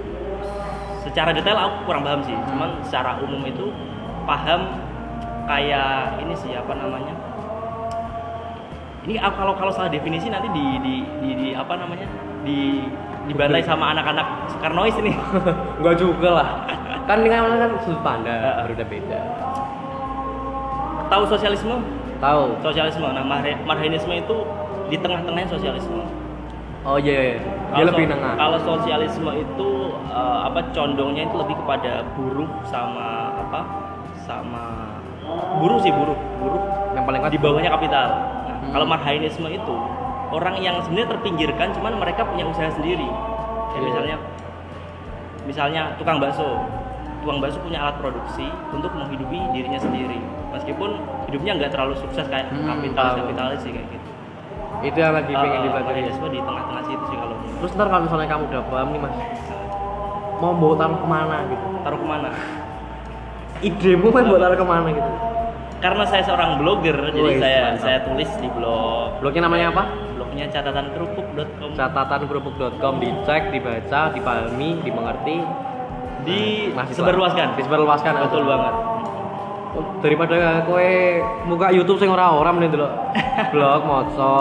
Speaker 2: secara detail aku kurang paham sih cuman secara umum itu paham kayak ini sih apa namanya ini aku- kalau kalau salah definisi nanti di di di, di apa namanya di dibantai sama anak-anak Soekarnois ini
Speaker 1: Enggak juga lah kan dengan kan sudut pandang berbeda beda
Speaker 2: tahu sosialisme
Speaker 1: tahu
Speaker 2: sosialisme nah marhe- marhenisme itu di tengah-tengahnya sosialisme
Speaker 1: oh iya iya dia
Speaker 2: Kalau
Speaker 1: lebih
Speaker 2: so-
Speaker 1: nengah
Speaker 2: kalau sosialisme itu eh, apa condongnya itu lebih kepada buruh sama apa sama buruh sih buruh buruh
Speaker 1: yang paling kuat
Speaker 2: di bawahnya kapital nah,
Speaker 1: Hmm.
Speaker 2: kalau marhainisme itu orang yang sebenarnya terpinggirkan cuman mereka punya usaha sendiri Kayak
Speaker 1: Iya.
Speaker 2: misalnya misalnya tukang bakso tukang bakso punya alat produksi untuk menghidupi dirinya sendiri meskipun hidupnya nggak terlalu sukses kayak
Speaker 1: Hmm,
Speaker 2: kapitalis
Speaker 1: tahu.
Speaker 2: kapitalis sih kayak gitu
Speaker 1: itu yang lagi pengen
Speaker 2: Eh,
Speaker 1: dipelajari
Speaker 2: marhainisme di tengah-tengah situ sih kalau menurut
Speaker 1: terus ntar kalau misalnya kamu udah paham nih mas mau bawa taruh kemana gitu
Speaker 2: taruh kemana
Speaker 1: idemu kan buat taruh kemana gitu
Speaker 2: karena saya seorang blogger jadi
Speaker 1: Wih,
Speaker 2: saya
Speaker 1: mantap.
Speaker 2: saya tulis di blog
Speaker 1: blognya namanya apa
Speaker 2: blognya catatan kerupuk.com
Speaker 1: catatankerupuk.com dicek dibaca dipahami dimengerti
Speaker 2: di
Speaker 1: Mahasiswa.
Speaker 2: seberluaskan
Speaker 1: Nah, disebarluaskan ya.
Speaker 2: betul banget
Speaker 1: daripada kue muka YouTube sing ora ora mending delok blog moco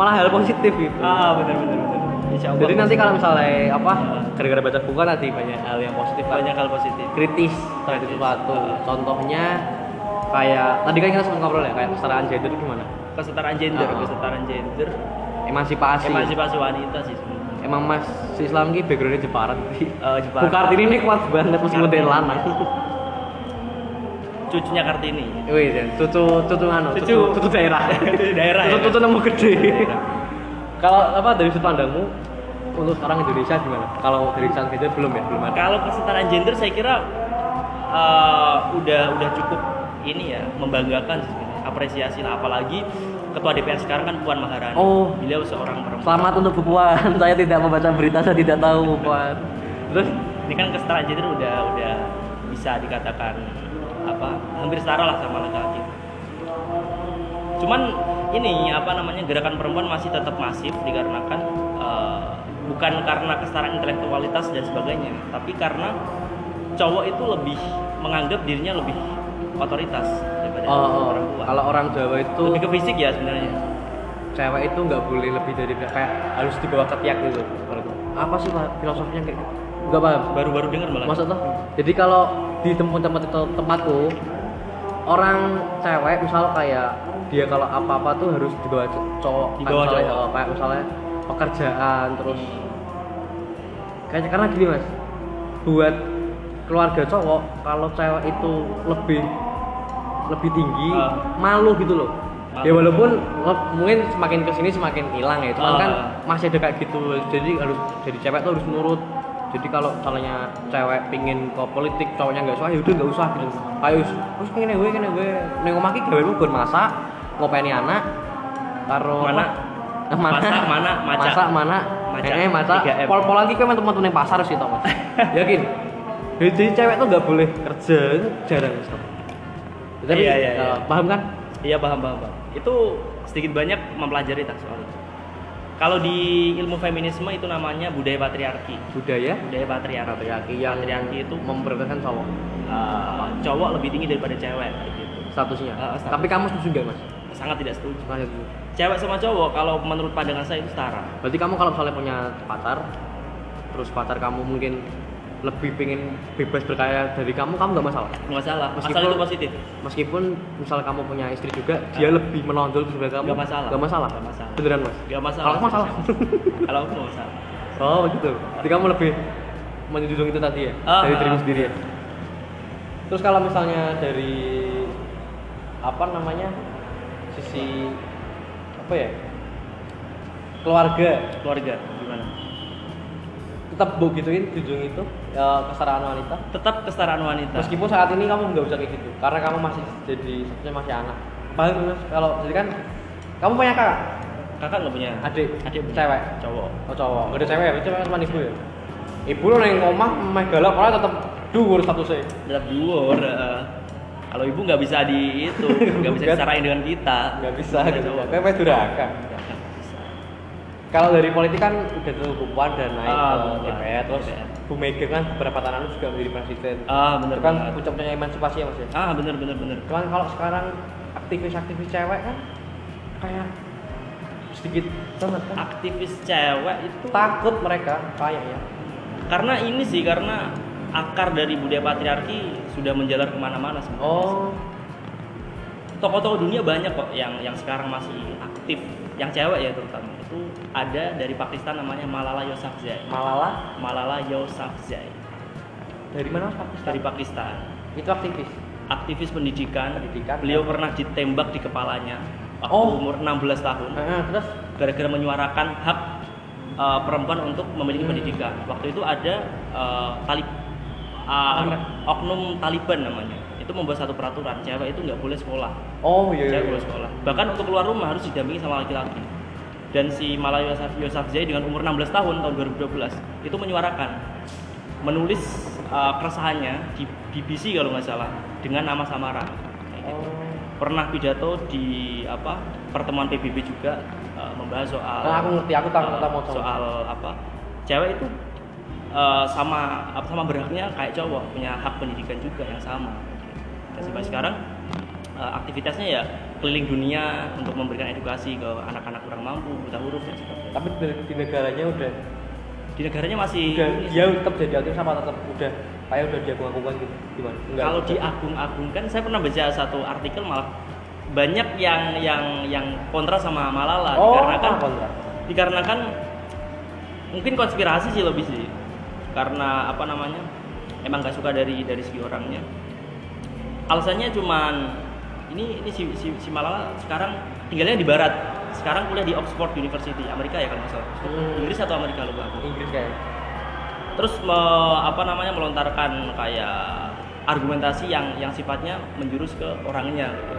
Speaker 1: malah hal positif gitu
Speaker 2: ah benar benar benar Insya Allah
Speaker 1: Jadi nanti
Speaker 2: positif.
Speaker 1: kalau misalnya apa gara-gara baca buku kan tadi banyak hal yang positif lah.
Speaker 2: banyak hal positif
Speaker 1: kritis terhadap sesuatu. Contohnya kayak tadi kan kita sempat ngobrol ya kayak kesetaraan gender itu gimana?
Speaker 2: kesetaraan gender
Speaker 1: Ah.
Speaker 2: kesetaraan gender
Speaker 1: Emansipasi.
Speaker 2: emansipasi wanita sih sebenarnya
Speaker 1: Emang Mas si Islam ki backgroundnya Jepara tadi.
Speaker 2: Eh, Jepara.
Speaker 1: Bu Kartini ini kuat banget meskipun dia lanang.
Speaker 2: cucunya kartini
Speaker 1: Wih, Jen, cucu cucu anu,
Speaker 2: Cucu.
Speaker 1: cucu cucu daerah.
Speaker 2: daerah ya?
Speaker 1: Cucu cucu nemu gede.
Speaker 2: Daerah.
Speaker 1: Kalau apa dari sudut pandangmu untuk sekarang Indonesia gimana? Kalau dari sudut Indonesia belum ya, belum ada.
Speaker 2: kalau kesetaraan gender saya kira eh, udah udah cukup ini ya membanggakan sih sebenarnya. apresiasi lah apalagi ketua DPR sekarang kan Puan Maharani
Speaker 1: Oh.
Speaker 2: beliau seorang perempuan
Speaker 1: Selamat untuk Bu Puan. Saya tidak membaca berita, saya tidak tahu Bu Puan. Terus
Speaker 2: ini kan kesetaraan gender udah udah bisa dikatakan apa hampir setara lah sama laki-laki cuman ini apa namanya gerakan perempuan masih tetap masif dikarenakan eh, bukan karena kesetaraan intelektualitas dan sebagainya tapi karena cowok itu lebih menganggap dirinya lebih otoritas daripada
Speaker 1: oh, oh,
Speaker 2: perempuan
Speaker 1: kalau orang Jawa itu
Speaker 2: lebih ke fisik ya sebenarnya
Speaker 1: cewek itu nggak boleh lebih dari kayak harus dibawa ke tiak gitu. Apa sih Pak, filosofinya kayak gitu? Nggak paham.
Speaker 2: baru-baru dengar malah
Speaker 1: Maksud tuh, jadi kalau di tempat-tempat tempatku orang cewek misal kayak dia kalau apa-apa tuh harus dibawa co- cowok
Speaker 2: Di
Speaker 1: Kayak
Speaker 2: bawah
Speaker 1: misalnya,
Speaker 2: cowok.
Speaker 1: eh, kayak misalnya pekerjaan terus kayak karena gini mas buat keluarga cowok kalau cewek itu lebih lebih tinggi
Speaker 2: Ah.
Speaker 1: malu gitu loh
Speaker 2: Malu.
Speaker 1: ya walaupun le- mungkin semakin kesini semakin hilang ya cuman
Speaker 2: Ah.
Speaker 1: kan masih ada kayak gitu jadi harus jadi cewek tuh harus nurut jadi kalau misalnya cewek pingin ke politik cowoknya nggak suka ya udah nggak usah gitu ayo terus pengen gue pengen gue neng omah ki gawe lu gue masak ngopeni anak karo
Speaker 2: Mana?
Speaker 1: Eh, mana
Speaker 2: Masak, mana, maca.
Speaker 1: masak mana
Speaker 2: Maca.
Speaker 1: eh masak
Speaker 2: 3M.
Speaker 1: pol pol lagi kan teman-teman yang pasar sih tau mas yakin jadi, jadi cewek tuh nggak boleh kerja itu jarang Mas. tapi
Speaker 2: Iya, iya, iya.
Speaker 1: eh, paham kan
Speaker 2: Iya paham paham paham. Itu sedikit banyak mempelajari tak soal itu. Kalau di ilmu feminisme itu namanya budaya patriarki.
Speaker 1: budaya
Speaker 2: Budaya patriarki.
Speaker 1: patriarki yang
Speaker 2: Patriarki itu
Speaker 1: memperkakan cowok
Speaker 2: eh, cowok lebih tinggi daripada cewek gitu.
Speaker 1: statusnya
Speaker 2: Eh, status.
Speaker 1: tapi kamu setuju nggak mas
Speaker 2: Sangat tidak setuju.
Speaker 1: Sangat setuju.
Speaker 2: Cewek sama cowok kalau menurut pandangan saya itu setara.
Speaker 1: berarti kamu kalau misalnya punya pacar terus pacar kamu mungkin lebih pengen bebas berkarya dari kamu kamu nggak masalah
Speaker 2: Nggak masalah. Asal
Speaker 1: Meskipun-
Speaker 2: itu positif.
Speaker 1: meskipun misal kamu punya istri juga dia lebih menonjol di sebelah kamu
Speaker 2: Ah. Nggak masalah.
Speaker 1: nggak masalah
Speaker 2: Nggak masalah.
Speaker 1: beneran mas
Speaker 2: Nggak masalah.
Speaker 1: kalau aku masalah
Speaker 2: Kalau aku nggak masalah.
Speaker 1: oh gitu jadi kamu lebih menjunjung itu tadi ya
Speaker 2: Ah,
Speaker 1: dari dirimu
Speaker 2: ah.
Speaker 1: sendiri ya terus kalau misalnya dari apa namanya sisi apa ya keluarga
Speaker 2: Keluarga gimana?
Speaker 1: tetap bu gituin junjung itu ya, kesetaraan wanita
Speaker 2: Tetap kesetaraan wanita.
Speaker 1: Meskipun saat ini kamu nggak usah kayak gitu, karena kamu masih jadi statusnya masih anak. Paham nggak, mas? Kalau jadi kan kamu punya kakak,
Speaker 2: Kakak nggak punya
Speaker 1: adik,
Speaker 2: Nah. Adik punya.
Speaker 1: cewek,
Speaker 2: cowok.
Speaker 1: oh cowok, nggak ada cewek ya, cewek cuma ibu ya. Ibu lo neng omah, meh galak, kalau tetap dhuwur statusnya.
Speaker 2: Tetap duor. eh. Kalau ibu nggak bisa di itu, nggak bisa
Speaker 1: Bukan.
Speaker 2: disarain dengan kita.
Speaker 1: Nggak bisa,
Speaker 2: Kita
Speaker 1: nggak bisa.
Speaker 2: cowok.
Speaker 1: Kayak kayak durhaka. Kalau dari politik kan udah tuh perempuan dan naik
Speaker 2: Ah,
Speaker 1: ke
Speaker 2: perempuan.
Speaker 1: DPR, terus
Speaker 2: DPR.
Speaker 1: Bu Mega kan beberapa tahun lalu juga menjadi presiden.
Speaker 2: Ah bener
Speaker 1: Itu kan
Speaker 2: banget.
Speaker 1: puncak-puncaknya emansipasi ya mas ya.
Speaker 2: Ah bener bener bener.
Speaker 1: Cuman kalau sekarang aktivis-aktivis cewek kan kayak sedikit banget kan.
Speaker 2: Aktivis cewek itu
Speaker 1: Takut mereka ya. kayaknya.
Speaker 2: karena ini sih karena akar dari budaya patriarki sudah menjalar kemana-mana sebenarnya.
Speaker 1: Oh,
Speaker 2: Tokoh-tokoh dunia banyak kok yang yang sekarang masih aktif, yang cewek ya terutama itu ada dari Pakistan namanya Malala Yousafzai.
Speaker 1: Malala
Speaker 2: Malala Yousafzai
Speaker 1: dari mana Mas Pakistan?
Speaker 2: dari Pakistan.
Speaker 1: Itu aktivis.
Speaker 2: Aktivis pendidikan.
Speaker 1: Pendidikan.
Speaker 2: Beliau pernah ditembak di kepalanya waktu
Speaker 1: Oh.
Speaker 2: umur 16 tahun.
Speaker 1: Heeh, terus
Speaker 2: gara-gara menyuarakan hak uh, perempuan untuk memiliki
Speaker 1: Hmm.
Speaker 2: pendidikan. Waktu itu ada uh, talib uh, oknum Taliban namanya. Itu membuat satu peraturan, cewek itu nggak boleh sekolah.
Speaker 1: Oh iya, iya.
Speaker 2: Cewek boleh sekolah. Bahkan untuk keluar rumah harus didampingi sama laki-laki. Dan si Malaya Yosaf, Yousafzai dengan umur 16 tahun tahun 2012 itu menyuarakan menulis uh, keresahannya di BBC kalau nggak salah dengan nama samaran. Kayak gitu
Speaker 1: Oh.
Speaker 2: pernah pidato di apa pertemuan PBB juga uh, membahas soal
Speaker 1: Nah, aku ngerti, aku tahu-
Speaker 2: uh,
Speaker 1: tahu mau tahu.
Speaker 2: soal apa cewek itu uh, sama
Speaker 1: Hmm.
Speaker 2: apa sama berhaknya kayak cowok punya hak pendidikan juga yang sama dan sampai sekarang eh, aktivitasnya ya keliling dunia untuk memberikan edukasi ke anak-anak kurang mampu, buta huruf dan sebagainya.
Speaker 1: Tapi di- di negaranya udah
Speaker 2: Di negaranya masih
Speaker 1: udah dia tetap jadi aktif sama tetap udah kayak udah diagung-agungkan gitu gimana? Enggak.
Speaker 2: kalau diagung-agungkan saya pernah baca satu artikel malah banyak yang yang yang kontra sama Malala
Speaker 1: oh,
Speaker 2: karena kan
Speaker 1: apa enggak?
Speaker 2: dikarenakan mungkin konspirasi sih lebih sih karena apa namanya emang nggak suka dari dari segi orangnya alasannya cuman ini ini si, si, si Malala sekarang tinggalnya di barat sekarang kuliah di Oxford University Amerika ya kalau nggak salah Oxford.
Speaker 1: Hmm.
Speaker 2: Inggris atau Amerika lupa aku
Speaker 1: Inggris kayak.
Speaker 2: terus me- apa namanya melontarkan kayak argumentasi yang yang sifatnya menjurus ke orangnya gitu.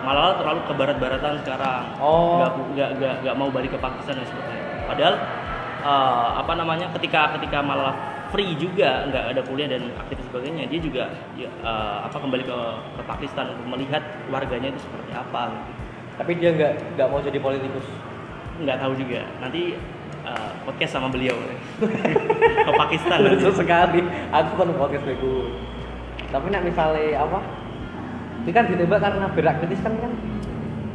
Speaker 2: Malala terlalu ke barat-baratan sekarang
Speaker 1: Oh.
Speaker 2: nggak nggak- nggak nggak mau balik ke Pakistan dan sebagainya padahal eh, apa namanya ketika ketika Malala free juga nggak ada kuliah dan aktivis sebagainya dia juga ya, eh, apa kembali ke ke Pakistan untuk melihat warganya itu seperti apa gitu.
Speaker 1: Tapi dia nggak nggak mau jadi politikus.
Speaker 2: nggak tahu juga nanti eh, podcast sama beliau ke Pakistan nanti.
Speaker 1: Lucu sekali. Aku kan podcast bego. Tapi nak misalnya apa? Ini kan ditembak karena berak kritis kan kan?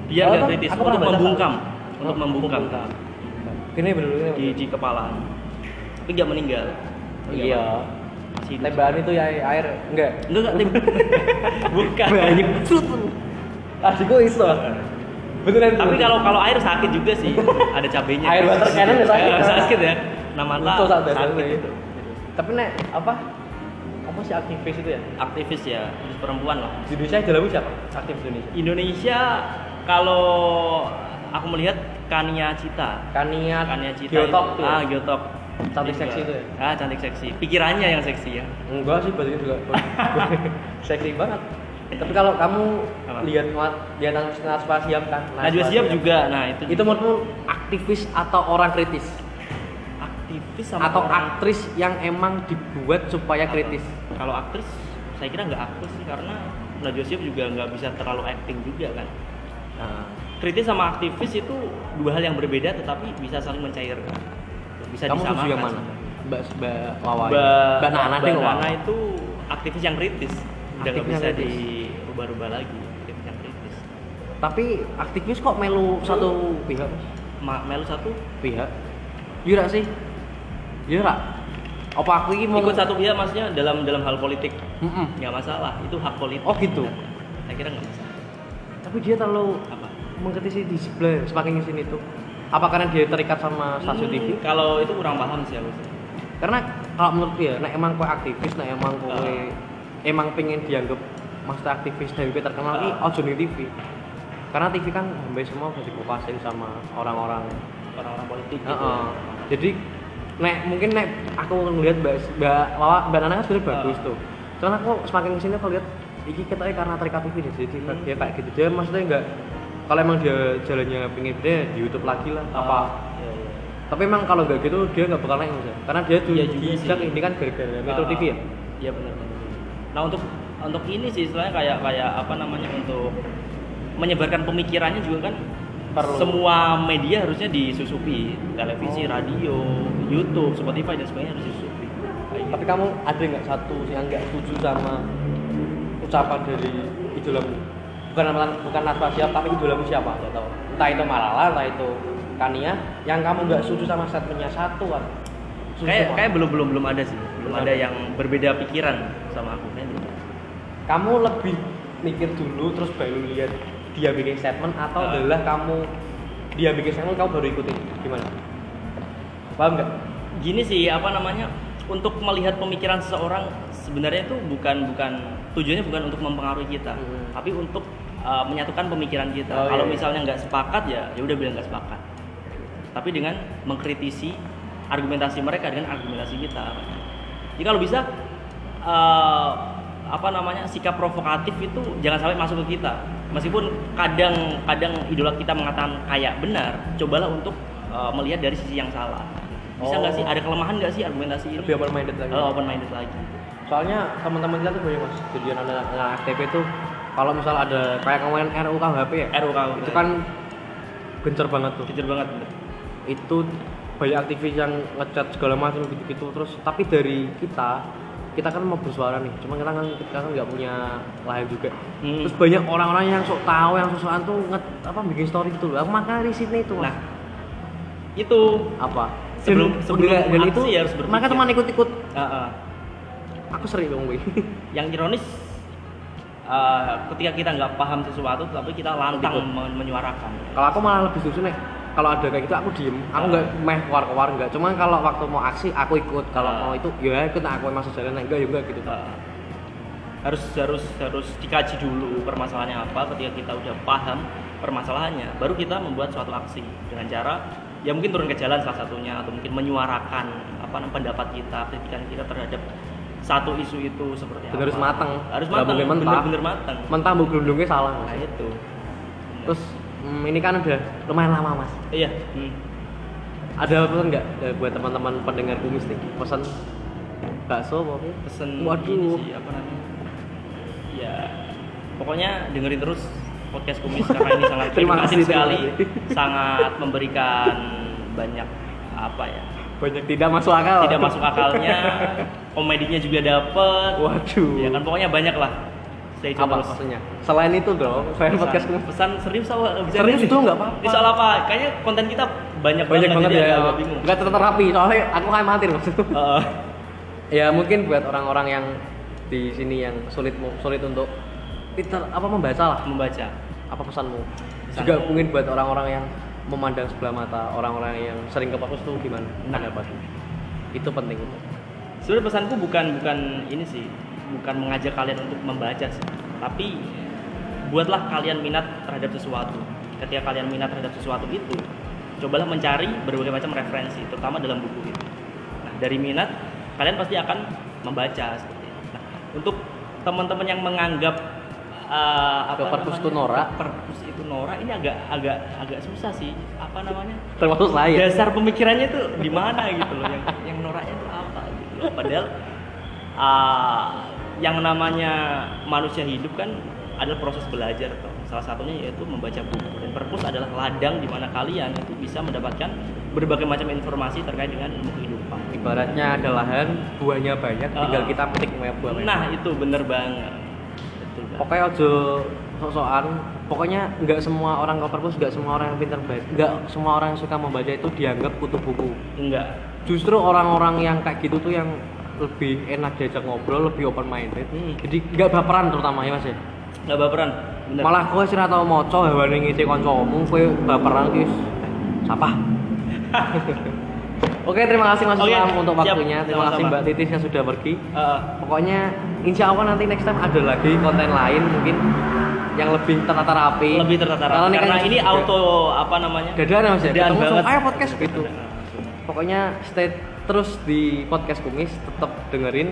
Speaker 2: dia
Speaker 1: Oh,
Speaker 2: nggak
Speaker 1: kan?
Speaker 2: kritis
Speaker 1: Aku
Speaker 2: untuk
Speaker 1: pernah baca
Speaker 2: membungkam
Speaker 1: soal-
Speaker 2: untuk membungkam
Speaker 1: Gini bener gini.
Speaker 2: di di kepala tapi nggak meninggal
Speaker 1: Iya.
Speaker 2: masih hidup.
Speaker 1: Tembakan itu ya air enggak.
Speaker 2: enggak enggak tem- bukan
Speaker 1: Banyak sut. Adikku Ah, iso. Beneran.
Speaker 2: tapi kalau kalau air sakit juga sih ada cabenya
Speaker 1: Air water cannon ya sakit.
Speaker 2: Eh, sakit ya nama
Speaker 1: Itu
Speaker 2: tak
Speaker 1: sakit
Speaker 2: sakit
Speaker 1: biasanya.
Speaker 2: itu.
Speaker 1: tapi nek apa? Apa sih aktivis itu ya?
Speaker 2: aktivis ya aktivis perempuan lah
Speaker 1: Di Indonesia yang dilalui siapa? Aktivis Indonesia.
Speaker 2: Indonesia kalau aku melihat Kania Cita
Speaker 1: Kania,
Speaker 2: Kania Cita
Speaker 1: Geotok
Speaker 2: itu,
Speaker 1: tuh. ya?
Speaker 2: ah Giotok
Speaker 1: Cantik seksi itu ya?
Speaker 2: ah cantik seksi pikirannya yang seksi ya
Speaker 1: Enggak sih bajunya juga seksi banget. Tapi kalau kamu
Speaker 2: Apa?
Speaker 1: lihat muat- lihat Najwa Siap kan?
Speaker 2: Najwa Siap juga nah itu
Speaker 1: Itu menurutmu aktivis atau orang kritis?
Speaker 2: aktivis sama
Speaker 1: atau
Speaker 2: orang
Speaker 1: aktris yang emang dibuat supaya kritis?
Speaker 2: kalau aktris saya kira nggak aktris sih karena Najwa Shihab juga nggak bisa terlalu acting juga kan
Speaker 1: Nah,
Speaker 2: kritis sama aktivis itu dua hal yang berbeda tetapi bisa saling mencairkan bisa
Speaker 1: kamu
Speaker 2: disamakan
Speaker 1: setuju yang mana?
Speaker 2: sebenarnya.
Speaker 1: Mbak Mbak Wawa.
Speaker 2: Mbak
Speaker 1: Mbak Nana deh
Speaker 2: Mbak
Speaker 1: Wawa.
Speaker 2: Nana itu aktivis yang kritis udah nggak
Speaker 1: Aktivis yang
Speaker 2: bisa
Speaker 1: kritis.
Speaker 2: diubah-ubah lagi aktivis yang kritis
Speaker 1: Tapi aktivis kok melu satu pihak?
Speaker 2: Ma Melu satu
Speaker 1: Pihak. Iya nggak sih? Iya nggak? Apa aku ini mau
Speaker 2: ikut satu pihak maksudnya dalam dalam hal politik
Speaker 1: Mm-mm.
Speaker 2: nggak masalah itu hak politik
Speaker 1: Oh, gitu.
Speaker 2: saya kira nggak masalah
Speaker 1: Tapi dia terlalu
Speaker 2: apa
Speaker 1: mengkritisi di sebelah semakin kesini tuh apa karena dia terikat sama stasiun TV
Speaker 2: Hmm, kalau itu kurang paham sih aku sih.
Speaker 1: karena kalau menurut dia nah emang kue aktivis nah emang kue
Speaker 2: Ah.
Speaker 1: emang pengen dianggap master aktivis dan kue terkenal ini
Speaker 2: Ah.
Speaker 1: ojo ning TV karena TV kan hampir semua udah dikupasin sama orang-orang
Speaker 2: orang-orang politik gitu.
Speaker 1: Heeh. jadi nek mungkin nek aku ngelihat mbak mbak Wawa- mbak Nana kan sebenarnya
Speaker 2: Ah.
Speaker 1: bagus tuh cuman aku semakin kesini aku lihat iki katanya karena terikat TV deh, jadi
Speaker 2: Hmm.
Speaker 1: dia kayak gitu dia maksudnya enggak kalau emang dia jalannya pengen gede ya di YouTube lagi lah apa
Speaker 2: Iya, iya.
Speaker 1: tapi emang kalau nggak gitu dia nggak bakal naik Mas, ya. karena dia
Speaker 2: Iya
Speaker 1: dulu
Speaker 2: juga sih.
Speaker 1: diinjak ini kan gara-gara Metro
Speaker 2: Ah,
Speaker 1: TV ya
Speaker 2: Iya benar benar. Nah, untuk untuk ini sih istilahnya kayak kayak apa namanya untuk menyebarkan pemikirannya juga kan
Speaker 1: Perlu. Oh.
Speaker 2: semua media harusnya disusupi televisi, radio, YouTube, Spotify dan sebagainya harus disusupi. Kayak
Speaker 1: tapi
Speaker 2: gitu.
Speaker 1: kamu ada nggak satu yang nggak setuju sama ucapan dari idolamu bukan nama- bukan Natwa siapa tapi idolamu siapa nggak tahu entah itu Malala entah itu Kania yang kamu nggak setuju sama statementnya satu kan Setuju
Speaker 2: kayak
Speaker 1: sama.
Speaker 2: kayak belum belum belum ada sih. Belum
Speaker 1: Belum
Speaker 2: ada
Speaker 1: ada.
Speaker 2: yang berbeda pikiran sama aku gitu. kayaknya. belum.
Speaker 1: kamu lebih mikir dulu terus baru lihat dia bikin statement atau
Speaker 2: Ah.
Speaker 1: adalah kamu dia bikin statement kamu baru ikutin gimana paham nggak
Speaker 2: gini sih apa namanya untuk melihat pemikiran seseorang sebenarnya itu bukan bukan tujuannya bukan untuk mempengaruhi kita
Speaker 1: Hmm.
Speaker 2: tapi untuk uh, menyatukan pemikiran kita
Speaker 1: Oh, iya,
Speaker 2: kalau
Speaker 1: iya.
Speaker 2: misalnya nggak sepakat ya ya udah bilang nggak sepakat tapi dengan mengkritisi argumentasi mereka dengan argumentasi kita jadi kalau bisa uh, apa namanya sikap provokatif itu jangan sampai masuk ke kita meskipun kadang kadang idola kita mengatakan kayak benar cobalah untuk uh, melihat dari sisi yang salah bisa
Speaker 1: Oh.
Speaker 2: nggak sih ada kelemahan nggak sih argumentasi ini
Speaker 1: lebih open minded lagi
Speaker 2: kalau open minded lagi
Speaker 1: soalnya teman-teman kita tuh banyak mas jadi anak anak FTP tuh kalau misal ada kayak kemarin RUU KUHP ya
Speaker 2: RUU
Speaker 1: itu kan gencar banget tuh
Speaker 2: Eh, jujur banget
Speaker 1: itu banyak aktivis yang ngecat segala macam gitu-gitu terus tapi dari kita kita kan mau bersuara nih cuma kita kan kita kan nggak punya layar juga
Speaker 2: Hmm.
Speaker 1: terus banyak orang-orang yang sok tahu yang sok-sokan tuh nge, apa bikin story gitu loh aku makanya di sini itu
Speaker 2: Nah, itu
Speaker 1: apa
Speaker 2: sebelum-
Speaker 1: Dan-
Speaker 2: sebelum
Speaker 1: dan- dan
Speaker 2: aksi
Speaker 1: itu
Speaker 2: ya harus berpikir.
Speaker 1: makanya teman ikut-ikut
Speaker 2: Ah, ah.
Speaker 1: aku sering dong gue
Speaker 2: yang ironis eh, ketika kita nggak paham sesuatu tapi kita lantang
Speaker 1: Ikut.
Speaker 2: men- menyuarakan
Speaker 1: kalau aku malah lebih susu nih kalau ada kayak gitu aku diem aku nggak meh keluar keluar nggak cuman kalau waktu mau aksi aku ikut kalau
Speaker 2: Ah.
Speaker 1: mau itu ya ikut nah, aku yang masuk jalan nah, enggak ya enggak gitu
Speaker 2: Eh, harus harus harus dikaji dulu permasalahannya apa ketika kita udah paham permasalahannya baru kita membuat suatu aksi dengan cara ya mungkin turun ke jalan salah satunya atau mungkin menyuarakan apa namanya pendapat kita kritikan kita terhadap satu isu itu seperti
Speaker 1: Dan
Speaker 2: apa
Speaker 1: harus matang.
Speaker 2: harus
Speaker 1: Nggak
Speaker 2: matang
Speaker 1: boleh mentah.
Speaker 2: bener-bener matang
Speaker 1: mentah bu gelundungnya salah
Speaker 2: nah
Speaker 1: Mas.
Speaker 2: itu
Speaker 1: terus hmm, ini kan udah lumayan lama mas
Speaker 2: iya hmm.
Speaker 1: ada pesan nggak eh, buat teman-teman pendengar kumis nih pesan bakso apa apa?
Speaker 2: pesen
Speaker 1: Waduh.
Speaker 2: ini sih apa namanya ya pokoknya dengerin terus podcast kumis karena ini sangat
Speaker 1: Terima kasih,
Speaker 2: edukatif
Speaker 1: terima
Speaker 2: sekali
Speaker 1: kasih.
Speaker 2: sangat memberikan banyak apa ya
Speaker 1: banyak tidak masuk akal
Speaker 2: tidak masuk akalnya komedinya juga dapet
Speaker 1: waduh
Speaker 2: ya kan pokoknya banyak lah stay tune
Speaker 1: apa
Speaker 2: terus.
Speaker 1: maksudnya selain itu dong selain
Speaker 2: pesan,
Speaker 1: podcast kumis
Speaker 2: pesan serius apa
Speaker 1: Serius dong, nggak apa-apa.
Speaker 2: Ini soal apa kayaknya konten kita banyak
Speaker 1: banyak banget
Speaker 2: jadi
Speaker 1: ya
Speaker 2: agak bingung
Speaker 1: nggak tetap rapi soalnya aku kayak mati loh
Speaker 2: Heeh.
Speaker 1: ya mungkin buat orang-orang yang di sini yang sulit sulit untuk Peter apa membaca lah
Speaker 2: membaca
Speaker 1: apa pesanmu
Speaker 2: Pesanku.
Speaker 1: juga mungkin buat orang-orang yang memandang sebelah mata orang-orang yang sering ke pos tuh gimana
Speaker 2: Nah.
Speaker 1: pendapat itu penting
Speaker 2: sebenarnya pesanku bukan bukan ini sih bukan mengajak kalian untuk membaca sih tapi buatlah kalian minat terhadap sesuatu ketika kalian minat terhadap sesuatu itu cobalah mencari berbagai macam referensi terutama dalam buku itu nah dari minat kalian pasti akan membaca seperti itu. Nah, untuk teman-teman yang menganggap eh, apa
Speaker 1: Perpus
Speaker 2: namanya,
Speaker 1: itu norak.
Speaker 2: perpus itu norak ini agak agak agak susah sih apa namanya
Speaker 1: termasuk saya
Speaker 2: dasar pemikirannya tuh di mana gitu loh yang yang noraknya tuh apa gitu loh. padahal ah, yang namanya manusia hidup kan adalah proses belajar tuh salah satunya yaitu membaca buku dan perpus adalah ladang di mana kalian itu bisa mendapatkan berbagai macam informasi terkait dengan ilmu kehidupan
Speaker 1: ibaratnya ada lahan buahnya banyak tinggal
Speaker 2: Ah.
Speaker 1: kita petik banyak buah banyak.
Speaker 2: nah itu bener banget betul kan? banget
Speaker 1: pokoknya ojo sok-sokan pokoknya nggak semua orang ke perpus nggak semua orang yang pintar baca nggak semua orang yang suka membaca itu dianggap kutu buku
Speaker 2: enggak
Speaker 1: justru orang-orang yang kayak gitu tuh yang lebih enak diajak ngobrol lebih open minded
Speaker 2: Hmm.
Speaker 1: jadi nggak baperan terutama ya mas ya
Speaker 2: enggak baperan bener.
Speaker 1: malah kowe sing ora tau maca hawane ngece kancamu kowe baperan ki "Eh, sampah Oke, terima kasih Mas
Speaker 2: Oke,
Speaker 1: Islam untuk
Speaker 2: siap.
Speaker 1: waktunya. Terima kasih
Speaker 2: Sama-sama.
Speaker 1: Mbak Titis yang sudah pergi.
Speaker 2: Ah,
Speaker 1: Pokoknya insya Allah nanti next time ada lagi konten lain mungkin yang lebih tertata rapi.
Speaker 2: Eh, lebih tertata rapi.
Speaker 1: kan
Speaker 2: karena ini
Speaker 1: juga
Speaker 2: auto apa namanya
Speaker 1: dadaan ya, Mas ya.
Speaker 2: Dadaan
Speaker 1: Ketemu langsung,
Speaker 2: banget.
Speaker 1: Ayo podcast gitu. Pokoknya stay terus di podcast Kumis, tetap dengerin.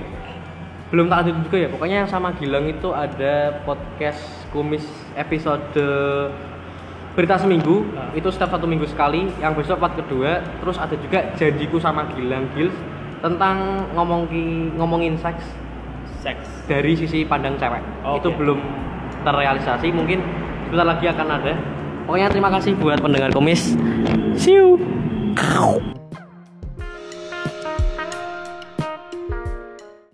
Speaker 1: Belum tak lanjut juga ya. Pokoknya yang sama Gilang itu ada podcast Kumis episode berita seminggu
Speaker 2: Ah.
Speaker 1: itu setiap satu minggu sekali yang besok part kedua terus ada juga janjiku sama Gilang Gils tentang ngomongki ngomongin seks
Speaker 2: seks
Speaker 1: dari sisi pandang cewek
Speaker 2: Oke.
Speaker 1: itu belum terrealisasi mungkin sebentar lagi akan ada pokoknya terima kasih buat pendengar komis see you